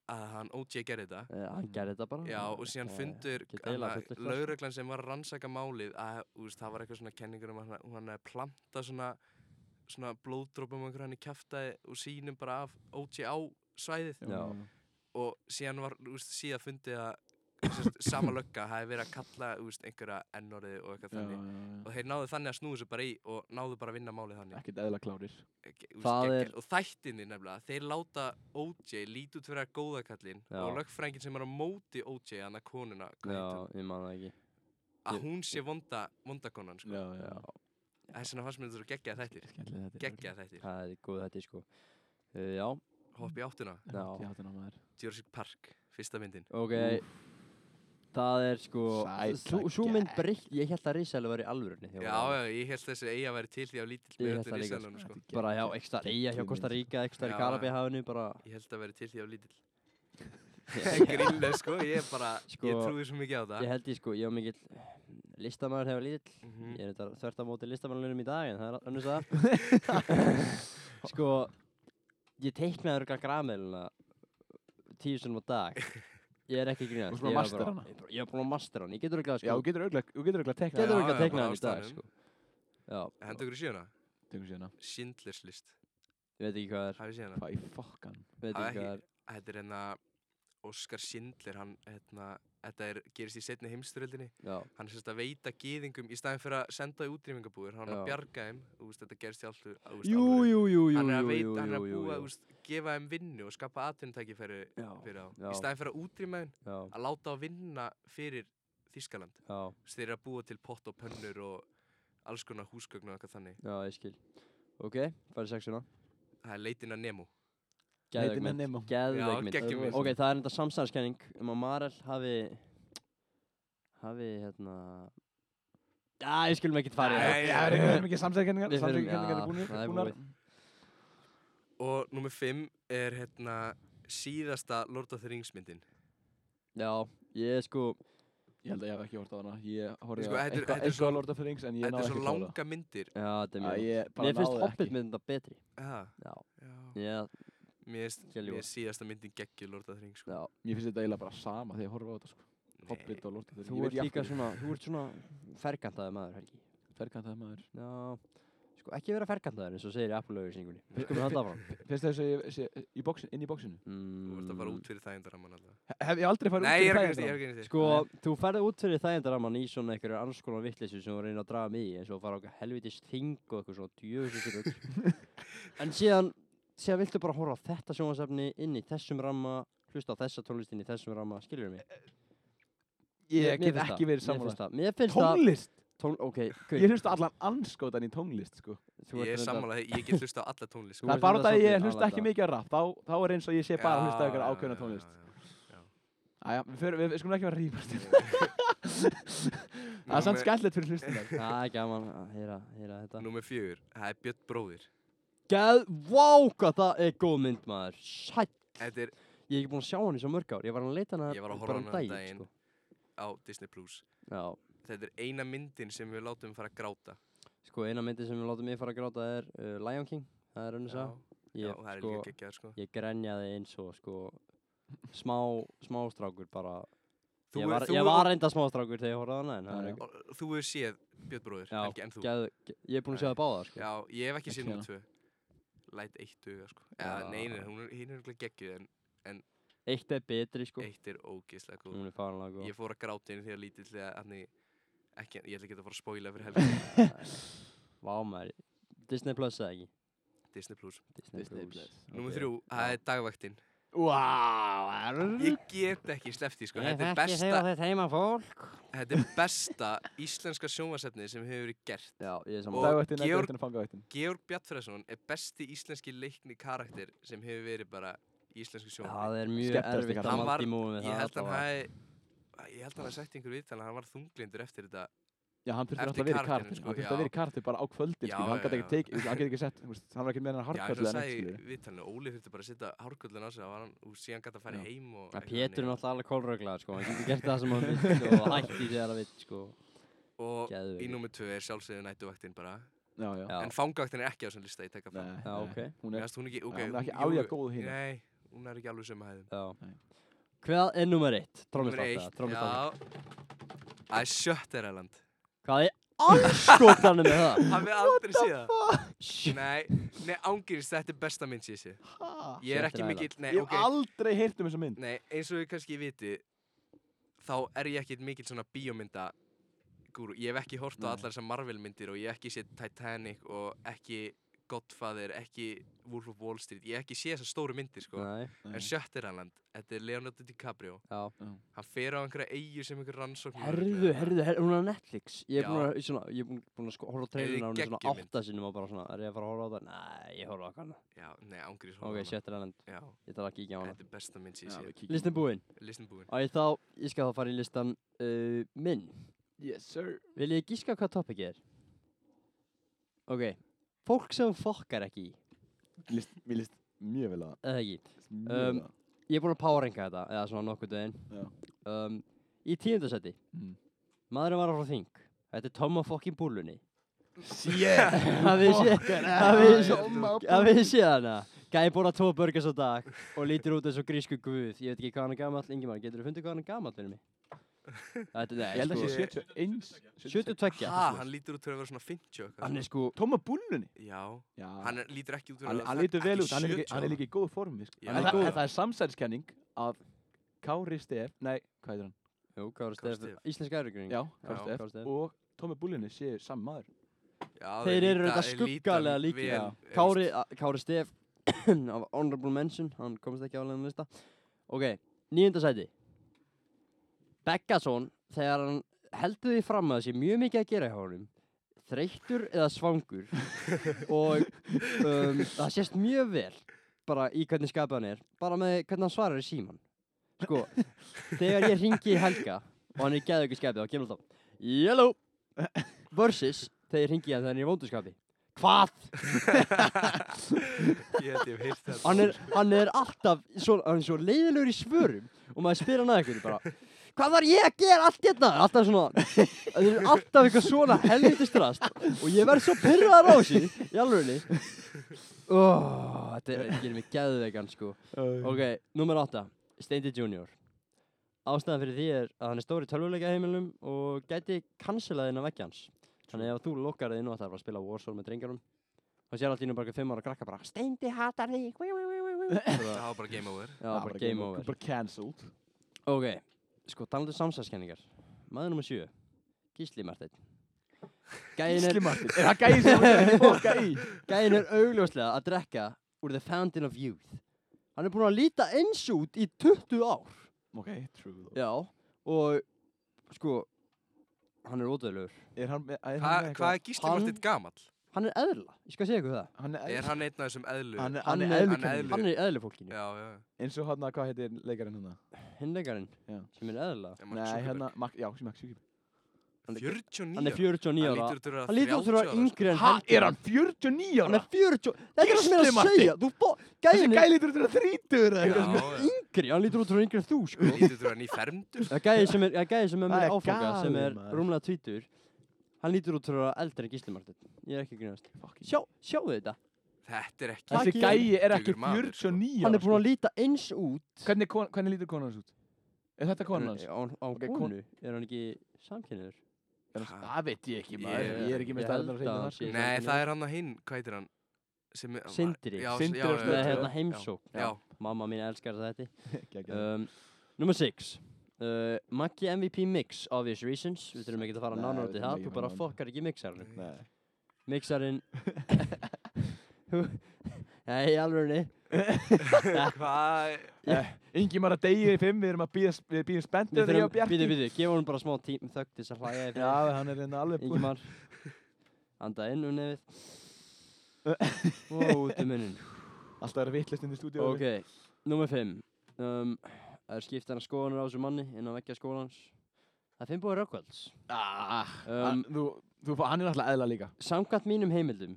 Speaker 3: að hann OJ gerði þetta.
Speaker 1: eh, hann gerði þetta bara
Speaker 3: Mm. Já, og síðan
Speaker 1: eh,
Speaker 3: fundur
Speaker 1: get eiginlega fullyrt það, sko.
Speaker 3: lauruglan sem var að rannsaka málið að úst, það var eitthvað svona kenningur um að hann- hún hann hefði plantað svona, svona blóðdrópum einhver hann í kjaftaði og sínum bara af OJ á svæðið
Speaker 1: Já.
Speaker 3: og síðan var úst, síðan fundið að sérst, sama lögga hafi verið að kalla úst, einhverja ennorðið og eitthvað
Speaker 2: Já,
Speaker 3: þannig
Speaker 2: já,
Speaker 3: og þeir náðu þannig að snúðu sér bara í og náðu bara að vinna málið þannig
Speaker 2: já. Ekkert eðla klárir.
Speaker 3: Ge- þú
Speaker 1: Það
Speaker 3: veist,
Speaker 1: er-
Speaker 3: geggjað. og þættinni nefnilega, þeir láta OJ lítið út fyrir að góða kallinn
Speaker 1: Já.
Speaker 3: og lögfrængin sem er á móti OJ hann að konuna, hvað
Speaker 1: Já,
Speaker 3: heitir hún?
Speaker 1: ég man það ekki
Speaker 3: að hún sé vonda, vonda konan sko.
Speaker 2: Já, já.
Speaker 1: Já,
Speaker 3: þess vegna fannst mér þetta svo geggjað þættir
Speaker 2: Skemmtilega þetta.
Speaker 3: geggjað þættir,
Speaker 1: það er góð þetta, sko Eh, Já,
Speaker 3: hopp í áttuna
Speaker 2: Já.
Speaker 1: Já.
Speaker 2: Ég hátta ná maður.
Speaker 3: Jurassic Park, fyrsta myndin
Speaker 1: ok
Speaker 2: Úff.
Speaker 1: Það er sko,
Speaker 2: Sæta
Speaker 1: sú- sú mynd
Speaker 2: gegg.
Speaker 1: breytt, ég held að Rísælu var í alvörunni þegar
Speaker 3: já,
Speaker 1: hún var-
Speaker 3: já, ég held þessi eiga væri til því á lítill
Speaker 1: Ég
Speaker 3: með
Speaker 1: held
Speaker 3: öllum
Speaker 1: það líka,
Speaker 3: risanum sko.
Speaker 2: Þetta er
Speaker 1: Bara hjá
Speaker 2: geggjað.
Speaker 1: ekstra eiga hjá
Speaker 2: Geggjuð
Speaker 1: Costa
Speaker 2: mynd.
Speaker 1: Rica, ekstra í
Speaker 3: Já.
Speaker 1: Karabíhafinu, bara
Speaker 3: ég held það væri til því á lítill
Speaker 1: Ég
Speaker 3: grillu sko, ég er bara
Speaker 1: Sko,
Speaker 3: ég trúi svo mikið á það
Speaker 1: held ég sko, ég var mikill listamæður þegar ég var lítill
Speaker 3: Mhm.
Speaker 1: Ég er þetta þvert á móti listamannlunum í dag en það er önnur það Sko, ég teiknaði örgulega grameðluna tíu sunnum á dag Ég er ekki að grínast
Speaker 2: Þú ert búin
Speaker 1: ég var
Speaker 2: að mastera
Speaker 1: bara-
Speaker 2: hana?
Speaker 1: ég bara- Ég er búin að mastera hana, ég getur örgulega
Speaker 2: Já,
Speaker 1: sko
Speaker 2: þú getur auðvitað, þú getur auðvitað teknað.
Speaker 1: Getur
Speaker 3: Já,
Speaker 1: örgulega
Speaker 3: já,
Speaker 1: teiknað
Speaker 3: bara
Speaker 1: hana í dag
Speaker 3: ástæðunum.
Speaker 1: sko Já,
Speaker 3: hendur ykkur í sjöna,
Speaker 2: Tökum síðan að.
Speaker 3: Schindlers list
Speaker 1: ég veit ekki hvað það er,
Speaker 3: hafið séð hana?
Speaker 2: Hvað í fokkan?
Speaker 1: veit
Speaker 3: Það er
Speaker 1: ekki hvað það er
Speaker 3: Þetta er hérna Óskar Schindler, hann, hérna, þetta er, gerist í setni heimsturöldinni.
Speaker 1: Já,
Speaker 3: Hann er sérst að veita gýðingum í staðin fyrir að senda í útrýmingabúður, hann er að
Speaker 1: Já.
Speaker 3: bjarga þeim, þú veist, þetta gerist í allt, þú veist,
Speaker 1: Jú, jú, jú, jú,
Speaker 3: hann er að
Speaker 1: jú,
Speaker 3: veita,
Speaker 1: jú,
Speaker 3: hann er að
Speaker 1: jú,
Speaker 3: búa,
Speaker 1: jú.
Speaker 3: þú veist, gefa þeim vinnu og skapa atvinnutæki fyrir,
Speaker 1: Já,
Speaker 3: fyrir þá.
Speaker 1: já.
Speaker 3: Í staðin fyrir að útrýma þeim,
Speaker 1: já,
Speaker 3: að láta að vinna fyrir Þískaland.
Speaker 1: já,
Speaker 3: Þú veist, þeir eru að búa til pott og pönnur og alls konar húsgögn og eitthvað þannig.
Speaker 1: já, ég skil Ok, farið sexuna
Speaker 3: Það er leitin að Nemo.
Speaker 1: Geðveik
Speaker 2: Leitin að
Speaker 1: mynd,
Speaker 2: Nemo.
Speaker 1: geðveik mynd
Speaker 3: geggjum
Speaker 2: Öðruvísi.
Speaker 3: við.
Speaker 1: Ok, það er enda samsæðarskenning um að Marel hafi hafi hérna Já, ég skulum ekkert fara í
Speaker 3: Nei,
Speaker 1: það
Speaker 3: já,
Speaker 2: Það
Speaker 3: já.
Speaker 2: er mikið samsæðkenningar,
Speaker 1: Við förum-
Speaker 2: samsæðkenningar
Speaker 1: já,
Speaker 2: búnir.
Speaker 1: það er
Speaker 2: búnar.
Speaker 3: Og nummer 5 er, hérna, síðasta Lord of the Rings myndin.
Speaker 1: Já, ég sko
Speaker 2: Ég held að ég hef ekki hort á hana. Ég horfði
Speaker 3: Sko,
Speaker 2: á
Speaker 3: þetta er-
Speaker 2: eitthvað
Speaker 3: þetta er
Speaker 2: eitthvað
Speaker 3: svo-
Speaker 2: Lord of the Rings en ég
Speaker 3: Þetta
Speaker 2: náði
Speaker 3: er
Speaker 2: ekki
Speaker 3: svo
Speaker 2: að klára.
Speaker 3: langa myndir.
Speaker 1: Já, þetta er mjög
Speaker 2: Æ,
Speaker 1: gott.
Speaker 2: Ég bara
Speaker 1: Mér finnst
Speaker 2: náði
Speaker 1: Hobbit
Speaker 2: ekki.
Speaker 1: mynda betri
Speaker 3: Ah,
Speaker 1: Já,
Speaker 3: já.
Speaker 1: já,
Speaker 3: Mér finnst
Speaker 1: Skelljúga.
Speaker 3: mér finnst síðasta myndin geggjur Lord of the Rings sko.
Speaker 1: já
Speaker 2: Mér finnst þetta eiginlega bara sama þegar ég horfa á þetta sko. Hobbit og Lord of the Rings.
Speaker 1: Þú ert líka svona, þú ert svona ferkantaði maður, Helgi
Speaker 2: Ferkant það maður.
Speaker 1: Já, sko. Ekki vera ferkantaður eins og segir í Apple-auðlýsingunni. Við skulum halda áfram.
Speaker 2: Finnst þér þessu sé í boxin, inn í bóksinu?
Speaker 1: Mm,
Speaker 3: Þú ert að fara út fyrir þægindaramman alltaf
Speaker 2: Hef ég aldrei farið
Speaker 3: Nei, ég er ekki
Speaker 2: út
Speaker 3: að grínast, ég er ekki að grínast.
Speaker 1: Sko, þú ferði út fyrir þægindaramman í svona einhverju annars konar vittleysu sem þú reynir að draga mig í eins og fara á eitthvað helvitis þing og eitthvað svona djöfisins rugg. en síðan, síðan viltu bara horfa á þetta sjónvarsefni inn í þessum ramma, hlusta á þessa tónlist inn í þessum ramma, skilur mig?
Speaker 2: Ég
Speaker 1: Mér
Speaker 2: get
Speaker 1: finnst
Speaker 2: ekki
Speaker 1: það,
Speaker 2: verið
Speaker 1: mér finnst
Speaker 2: saman
Speaker 1: það- Mér finnst það,
Speaker 2: Tónlist!
Speaker 1: tón, ok,
Speaker 2: Ég hlusta allan anskotan í tónlist,
Speaker 1: þú
Speaker 2: sko.
Speaker 1: ert
Speaker 3: Ég er
Speaker 1: reyndar-
Speaker 3: sammála, ég get hlusta á alla tónlist
Speaker 1: Þú
Speaker 3: sko.
Speaker 2: Það er
Speaker 1: ert
Speaker 2: bara
Speaker 1: reyndar
Speaker 2: það að ég
Speaker 1: svolítið
Speaker 2: hlusta ekki
Speaker 1: aðlata.
Speaker 2: mikið að rap, þá, þá er eins og ég sé bara að hlusta
Speaker 3: Já,
Speaker 2: ykkur
Speaker 3: já,
Speaker 2: ákveðna
Speaker 3: já,
Speaker 2: tónlist.
Speaker 3: já,
Speaker 2: Æja, við, förum- við, við skulum ekki vera að rýmast.
Speaker 3: já.
Speaker 2: Það er samt
Speaker 3: Númer-
Speaker 2: skemmtilegt fyrir hlustunar.
Speaker 1: Það er gaman að heyra, heyra þetta.
Speaker 3: Númer fjögur, það er Björn bróðir
Speaker 1: Gæð, vá, hvað það er góð mynd maður, sætt.
Speaker 3: Þetta er
Speaker 1: Ég er ekki búinn að sjá hann í svo mörg ár, ég var að leita hann
Speaker 3: Ég var að horfa á hana um daginn. á Disney Plus
Speaker 1: sko. Já,
Speaker 3: Þetta er eina myndin sem við látum fara að gráta
Speaker 1: sko eina myndi sem við látum mig fara að gráta er uh, Lion King, það er önnur sá.
Speaker 3: já,
Speaker 1: Ég,
Speaker 3: það er
Speaker 1: sko,
Speaker 3: líka geggjaður sko
Speaker 1: ég grenjaði eins og sko smá, smástrákur bara.
Speaker 3: Þú
Speaker 1: ég
Speaker 3: er-
Speaker 1: var,
Speaker 3: þú
Speaker 1: ég
Speaker 3: er-
Speaker 1: var reynda smástrákur þegar ég horfði á hana en það
Speaker 2: Já,
Speaker 1: er ekki.
Speaker 3: Og Þú hefur séð Björn bróðir,
Speaker 1: Já,
Speaker 3: Helgi, en þú
Speaker 1: Gæð, ég er búinn að sjá það báða sko.
Speaker 3: Já, ég hef ekki
Speaker 2: Ekki
Speaker 3: séð númer tvö Læt eitt duga sko Eða
Speaker 1: Já.
Speaker 3: neina, hún er hinn er ekki geggjuð en
Speaker 1: Eitt er betri sko.
Speaker 3: eitt er ógeðslega góð
Speaker 1: Hún er farinlega góð.
Speaker 3: Ég fór að gráta inn þegar lítill eða þannig ekki, ég ætla ekki að fara að spoila fyrir helgi
Speaker 1: Vá maður, Disney Plus eða ekki?
Speaker 3: Disney Plus
Speaker 1: Disney,
Speaker 3: Númer þrjú, það er dagvaktin
Speaker 2: Wow, það er
Speaker 3: Ég get ekki sleppt því sko
Speaker 1: Ég
Speaker 3: Þetta er
Speaker 1: þekki
Speaker 3: besta,
Speaker 1: þegar þetta heima fólk.
Speaker 3: þetta er besta íslenska sjónvarsefni sem hefur verið gert
Speaker 1: Já, ég er
Speaker 3: Og
Speaker 1: saman.
Speaker 2: Dagvættin,
Speaker 3: Georg-
Speaker 2: nættvættin og fangavættin.
Speaker 3: Georg Bjartfræðsson er besti íslenski leikni karakter sem hefur verið bara í íslensku sjónvarpi.
Speaker 1: Það er mjög
Speaker 2: Skemmtilegasti
Speaker 1: erfitt
Speaker 2: karakter.
Speaker 1: að
Speaker 3: Hann
Speaker 1: malda
Speaker 3: var-
Speaker 1: í múið með
Speaker 3: Ég
Speaker 1: það sko.
Speaker 3: held hann
Speaker 1: allavega.
Speaker 3: hafi Ég held hann hafi sagt í einhverju viðtal að hann var þunglindur eftir þetta
Speaker 2: Já, hann þurfti
Speaker 3: Eftir
Speaker 2: alltaf að vera í
Speaker 3: karakterinn,
Speaker 2: kartin.
Speaker 3: sko,
Speaker 2: Hann þurfti að
Speaker 3: já.
Speaker 2: vera í kartin bara á kvöldin,
Speaker 3: Já,
Speaker 2: sko. Hann
Speaker 3: já,
Speaker 2: gæti
Speaker 3: já.
Speaker 2: ekki tekið, þú veist, hann gæti ekki sett, þú veist, hann var ekki með hann
Speaker 3: Já, eins og
Speaker 2: harkarlega
Speaker 3: hann
Speaker 2: neitt,
Speaker 3: sagði
Speaker 2: skilur.
Speaker 3: í viðtalinu, Óli þurfti bara að setja hárkvöldin á sig það var hann, og síðan gæti að fara
Speaker 2: Já.
Speaker 3: heim
Speaker 1: Ja,
Speaker 3: og eitthvað
Speaker 1: Pétur er
Speaker 3: þannig.
Speaker 1: náttúrulega alveg kólröglaður sko, hann getur gert það sem hann vill og hætti þegar hann vill sko.
Speaker 3: Og í
Speaker 1: Geðveikur.
Speaker 3: númer 2 er sjálfsögðu nættuvaktin bara
Speaker 2: Já, já.
Speaker 1: Já,
Speaker 3: En fangavaktin er ekki á þessum lista, ég tekka fram
Speaker 2: Nei,
Speaker 1: Já,
Speaker 2: nei.
Speaker 1: ok.
Speaker 2: Hún
Speaker 3: Mér
Speaker 2: er,
Speaker 3: finnst hún ekki,
Speaker 2: Já,
Speaker 3: ok
Speaker 2: hún er ekki
Speaker 3: jú,
Speaker 2: alveg góð hina.
Speaker 3: Nei, hún er ekki alveg sömu hæðum
Speaker 1: já.
Speaker 2: Nei.
Speaker 1: Hvað er nummer eitt?
Speaker 3: Númer
Speaker 1: Trómmistátt,
Speaker 3: eitt,
Speaker 1: trómmistátt.
Speaker 3: já Það er Shutter Island
Speaker 1: Hvað er anskotanum með það?
Speaker 3: Hafið þið aldrei séð það?
Speaker 1: Shit.
Speaker 3: Nei, nei, ángýrst, þetta er besta mynd sem ég sé
Speaker 2: Ha?
Speaker 3: Ég er
Speaker 1: Shutter
Speaker 3: ekki mikill, nei,
Speaker 2: Ég hef
Speaker 3: ok
Speaker 2: aldrei heyrt um þessa mynd.
Speaker 3: Nei, eins og þið kannski viti Þá er ég ekkit mikill svona bíómynda Gúru, ég hef ekki hort á
Speaker 2: Nei.
Speaker 3: allar þessar Marvel myndir Og ég hef ekki séð Titanic Og ekki Godfather Ekki Wolf of Wall Street Ég hef ekki séð þessar stóru myndir, sko
Speaker 1: Nei,
Speaker 2: Nei.
Speaker 3: En Shutter Island, þetta er Leonardo DiCaprio
Speaker 1: já.
Speaker 3: Hann fer á einhverja eigu sem einhver rannsókn
Speaker 1: Herðu, herðu, herðu, hún er á Netflix. Ég er
Speaker 3: Já.
Speaker 1: búinn að, svona, ég er búinn- búinn að sko, horfa á trailina á henni svona
Speaker 3: geggjum mynd.
Speaker 1: átta sinnum og bara svona, er ég að fara að horfa á það? Nei, ég horfa á hana.
Speaker 3: Já, nei, ángurins
Speaker 1: Ok, Shutter Island,
Speaker 3: Já,
Speaker 1: ég þarf að kíkja á hana.
Speaker 3: þetta er besta mynd sem
Speaker 2: Já, við
Speaker 3: ég
Speaker 2: kíkjum.
Speaker 3: sé
Speaker 1: Listin búinn.
Speaker 3: Listin búinn
Speaker 1: Og ég þá, ég skal þá fara í listan uh, minn.
Speaker 2: Yes, sir.
Speaker 1: Vil ég gíska hvað topikið er? Ok, fólk sem þú fokkar ekki í,
Speaker 2: List, mér list mjög vel að það.
Speaker 1: eða ekki.
Speaker 2: List
Speaker 1: Um,
Speaker 2: Mjög vel að það.
Speaker 1: Ég er búinn að powerrenga þetta, eða svona nokkuð daginn.
Speaker 2: Já.
Speaker 1: Um, í tíundasetti,
Speaker 2: Mm.
Speaker 1: maðurinn var frá þing. Þetta er Tom á fokkin búlunni.
Speaker 2: Sjétt!
Speaker 1: Það við sé, það við sé, það við sé hana. Gæði búinn að tóa börgast á dag og lítur út eins og grísku guð. Ég veit ekki hvað hann er gamall, Ingemar, getur þú fundið hvað hann er gamall fyrir mig? Þetta
Speaker 2: Ég
Speaker 1: er,
Speaker 2: held að
Speaker 1: sko,
Speaker 2: sé 71.
Speaker 1: 72.
Speaker 3: Ha, hann lítur út til að vera svona 50 og
Speaker 1: Hann
Speaker 3: eitthvað
Speaker 1: er sko,
Speaker 2: Tóma Búlunni?
Speaker 3: Já,
Speaker 2: Já.
Speaker 3: hann er, lítur ekki út fyrir
Speaker 2: Hann,
Speaker 3: að
Speaker 2: hann
Speaker 3: vera
Speaker 2: lítur vel
Speaker 3: ekki
Speaker 2: út, hann er, líka,
Speaker 3: 70
Speaker 2: hann er
Speaker 3: ára.
Speaker 2: líka í góð formi, sko.
Speaker 3: Já,
Speaker 2: En
Speaker 3: hann er
Speaker 2: það,
Speaker 1: góður.
Speaker 2: en það er samsæðiskenning að Kári Stef, nei, hvað heitir hann?
Speaker 1: jú, Kára
Speaker 3: Kári
Speaker 1: Steff,
Speaker 3: Stef.
Speaker 1: íslenska erugring.
Speaker 2: Já,
Speaker 1: Já,
Speaker 2: Kári
Speaker 1: Kári Stef.
Speaker 2: Stef. Og Tómi Búlunni séu saman maður.
Speaker 3: Já,
Speaker 1: Þeir eru
Speaker 3: líta-
Speaker 1: þetta
Speaker 3: þeir líta
Speaker 1: skuggalega
Speaker 3: vel-
Speaker 1: líkir.
Speaker 2: Já.
Speaker 3: eða
Speaker 1: Kári,
Speaker 3: veist,
Speaker 1: a- Kári Stef af Honorable Mention, hann komst ekki á leiðan lista ok, nýjunda sæti Beggason þegar hann heldur því fram að það sé mjög mikið að gera hjá honum þreyttur eða svangur og um, það sést mjög vel bara í hvernig skapið hann er bara með hvernig hann svarar í síman sko, þegar ég ringi í Helga og hann er gæðu ykkur skapið þá kemur alltaf Yellow versus þegar ég ringi í hann þegar hann er í vónduskapi Hvað?
Speaker 3: Ég held ég hef heyrt þetta
Speaker 1: hann er, hann er alltaf svo, hann er svo leiðilegur í svörum og maður spyr hann að einhverju bara hvað var ég að gera allt hérna alltaf svona það er alltaf eitthvað svona helviti strast og ég verð svo pyrraðar á þessu í alvegni oh, þetta er- þetta gerir mig geðveikan sko ok, nummer 8 Steindi Junior ástæðan fyrir því er að hann er stór í tölvuleika heimilum og gæti kansilaðin af veggja hans Þannig ef þú lukkar þig inn og ætlar að fara að spila Warzone með drengarum þá sér allt í nú bara eitthvað fimm ára krakka bara Steindi hatar þig wí, wí, wí, wí, wí."
Speaker 3: Það
Speaker 1: Bara-
Speaker 3: var bara game over.
Speaker 1: Já, bara game over
Speaker 2: Bara cancelled.
Speaker 1: Ok, sko talandu samsæðskenningar Maður nummer sjö Gísli Marteinn Gæin er,
Speaker 2: Gísli Martin. Er það gæði sem það er fólka í?
Speaker 1: gæin er augljóslega að drekka úr The Fountain of Youth Hann er búinn að líta eins út í 20 ár
Speaker 2: Ok, true though.
Speaker 1: Já, og sko Hann er ódöðlegur
Speaker 2: Er hann með, er hann
Speaker 3: Hva-
Speaker 2: með
Speaker 3: Hvað er Gísli
Speaker 1: Hann-
Speaker 3: Martin gamall?
Speaker 1: Hann er eðla, ég skal segja ykkur það
Speaker 2: Hann
Speaker 3: Er hann einn af þessum eðlu?
Speaker 2: Hann er,
Speaker 1: Hann er-
Speaker 2: hann er
Speaker 1: hann
Speaker 3: er
Speaker 2: eðlukennari.
Speaker 3: eðlu-
Speaker 1: Hann er í eðlufólkinu,
Speaker 3: Já, já.
Speaker 2: Eins og hann, hvað heitir leikarinn hann?
Speaker 1: hinleikarinn
Speaker 2: Já.
Speaker 1: sem er eðla
Speaker 3: Er Mark
Speaker 2: Nei,
Speaker 3: Zuckerberg.
Speaker 2: hérna, Mark, já, sem Mark Zuckerberg.
Speaker 1: hann er-
Speaker 3: 49
Speaker 1: Hann er 49 ára Hann
Speaker 3: Hann lítur að sko. vera
Speaker 1: lítur út fyrir að vera
Speaker 3: 30
Speaker 1: yngri en
Speaker 2: Ha,
Speaker 1: helgina.
Speaker 2: sko. er hann 49
Speaker 1: Hann
Speaker 2: ára?
Speaker 1: er 40 Þetta er það sem ég er að
Speaker 2: Gísli
Speaker 1: segja Þú bó
Speaker 2: Þessi
Speaker 1: Gæin er
Speaker 2: gæði lítur út fyrir að 30 eða
Speaker 3: ára.
Speaker 2: eitthvað.
Speaker 3: Já, já.
Speaker 1: yngri Hann lítur út frá yngri en þú sko
Speaker 3: Hann lítur að vera nýfermdur.
Speaker 1: Það er gæi sem er, það er gæi sem er
Speaker 2: Það
Speaker 1: með
Speaker 2: er
Speaker 1: áfanga sem
Speaker 2: galið,
Speaker 1: er
Speaker 2: maður.
Speaker 1: rúmlega tvítur Hann lítur út frá að vera eldri en Gísli Martin Ég er ekki að grínast
Speaker 2: Fucking-
Speaker 1: Sjá, sjáu þetta
Speaker 3: Þetta er ekki...
Speaker 1: Takk
Speaker 2: Þessi
Speaker 1: í-
Speaker 2: gæi er ekki
Speaker 3: Dugur maður, sko.
Speaker 2: 49 ára.
Speaker 1: Hann er búinn
Speaker 2: sko.
Speaker 1: að líta eins út
Speaker 2: Hvernig, kon- hvernig lítur konan hans út? Er þetta konan hans?
Speaker 1: Er- Á, á
Speaker 2: Ok, kon-
Speaker 1: konu Er hann ekki samkynniður?
Speaker 2: Er hann- Það veit ég ekki
Speaker 3: Ég-
Speaker 2: maður, ég er ekki með
Speaker 1: ég
Speaker 2: staðarinn
Speaker 1: held
Speaker 2: að
Speaker 1: að
Speaker 2: reyna
Speaker 1: hann
Speaker 2: það
Speaker 1: sé-
Speaker 2: sko.
Speaker 3: Nei, það er hann að hinn, hvað heitir hann? Sem, er-
Speaker 1: Sindri.
Speaker 3: Já,
Speaker 2: Sindri
Speaker 3: já,
Speaker 2: og
Speaker 3: já,
Speaker 2: Snæfell.
Speaker 1: Nei,
Speaker 3: já.
Speaker 1: hérna heimsókn
Speaker 3: Já,
Speaker 1: Mamma mín elskar þetta
Speaker 2: Geggjað.
Speaker 1: um, Númer 6 uh, Maggi MVP Mix Obvious Reasons Við þurfum ekki að fara
Speaker 2: Nei,
Speaker 1: nánar
Speaker 2: við
Speaker 1: út í
Speaker 2: þurfum
Speaker 1: það
Speaker 2: ekki að
Speaker 1: Þú
Speaker 2: fara
Speaker 1: bara
Speaker 2: nánar.
Speaker 1: fokkar ekki mixarinn
Speaker 2: Nei.
Speaker 1: Mixarinn Þú- Nei, í alvörunni
Speaker 3: hvað
Speaker 2: Ingi maður að degið í fimm, við erum að býða, við býðum spenntur
Speaker 1: Við
Speaker 2: þegar ég og
Speaker 1: þurfum,
Speaker 2: Bjarki.
Speaker 1: býðu, býðu, gefa hún bara smá tím þögg til þess að hlæja
Speaker 2: Já, hann er reynda alveg búinn.
Speaker 1: Ingimar Anda inn um nefið Og út um munnin
Speaker 2: Alltaf er vittlist inn í stúdíu.
Speaker 1: Ok, nummer 5 um, Það er skipt hana skoðanur á þessu manni innan veggja skólans Það er fimm búið rökkvölds
Speaker 2: Ah,
Speaker 1: um,
Speaker 2: hann, þú, þú, hann er alltaf eðla líka.
Speaker 1: Samkvæmt mínum heimildum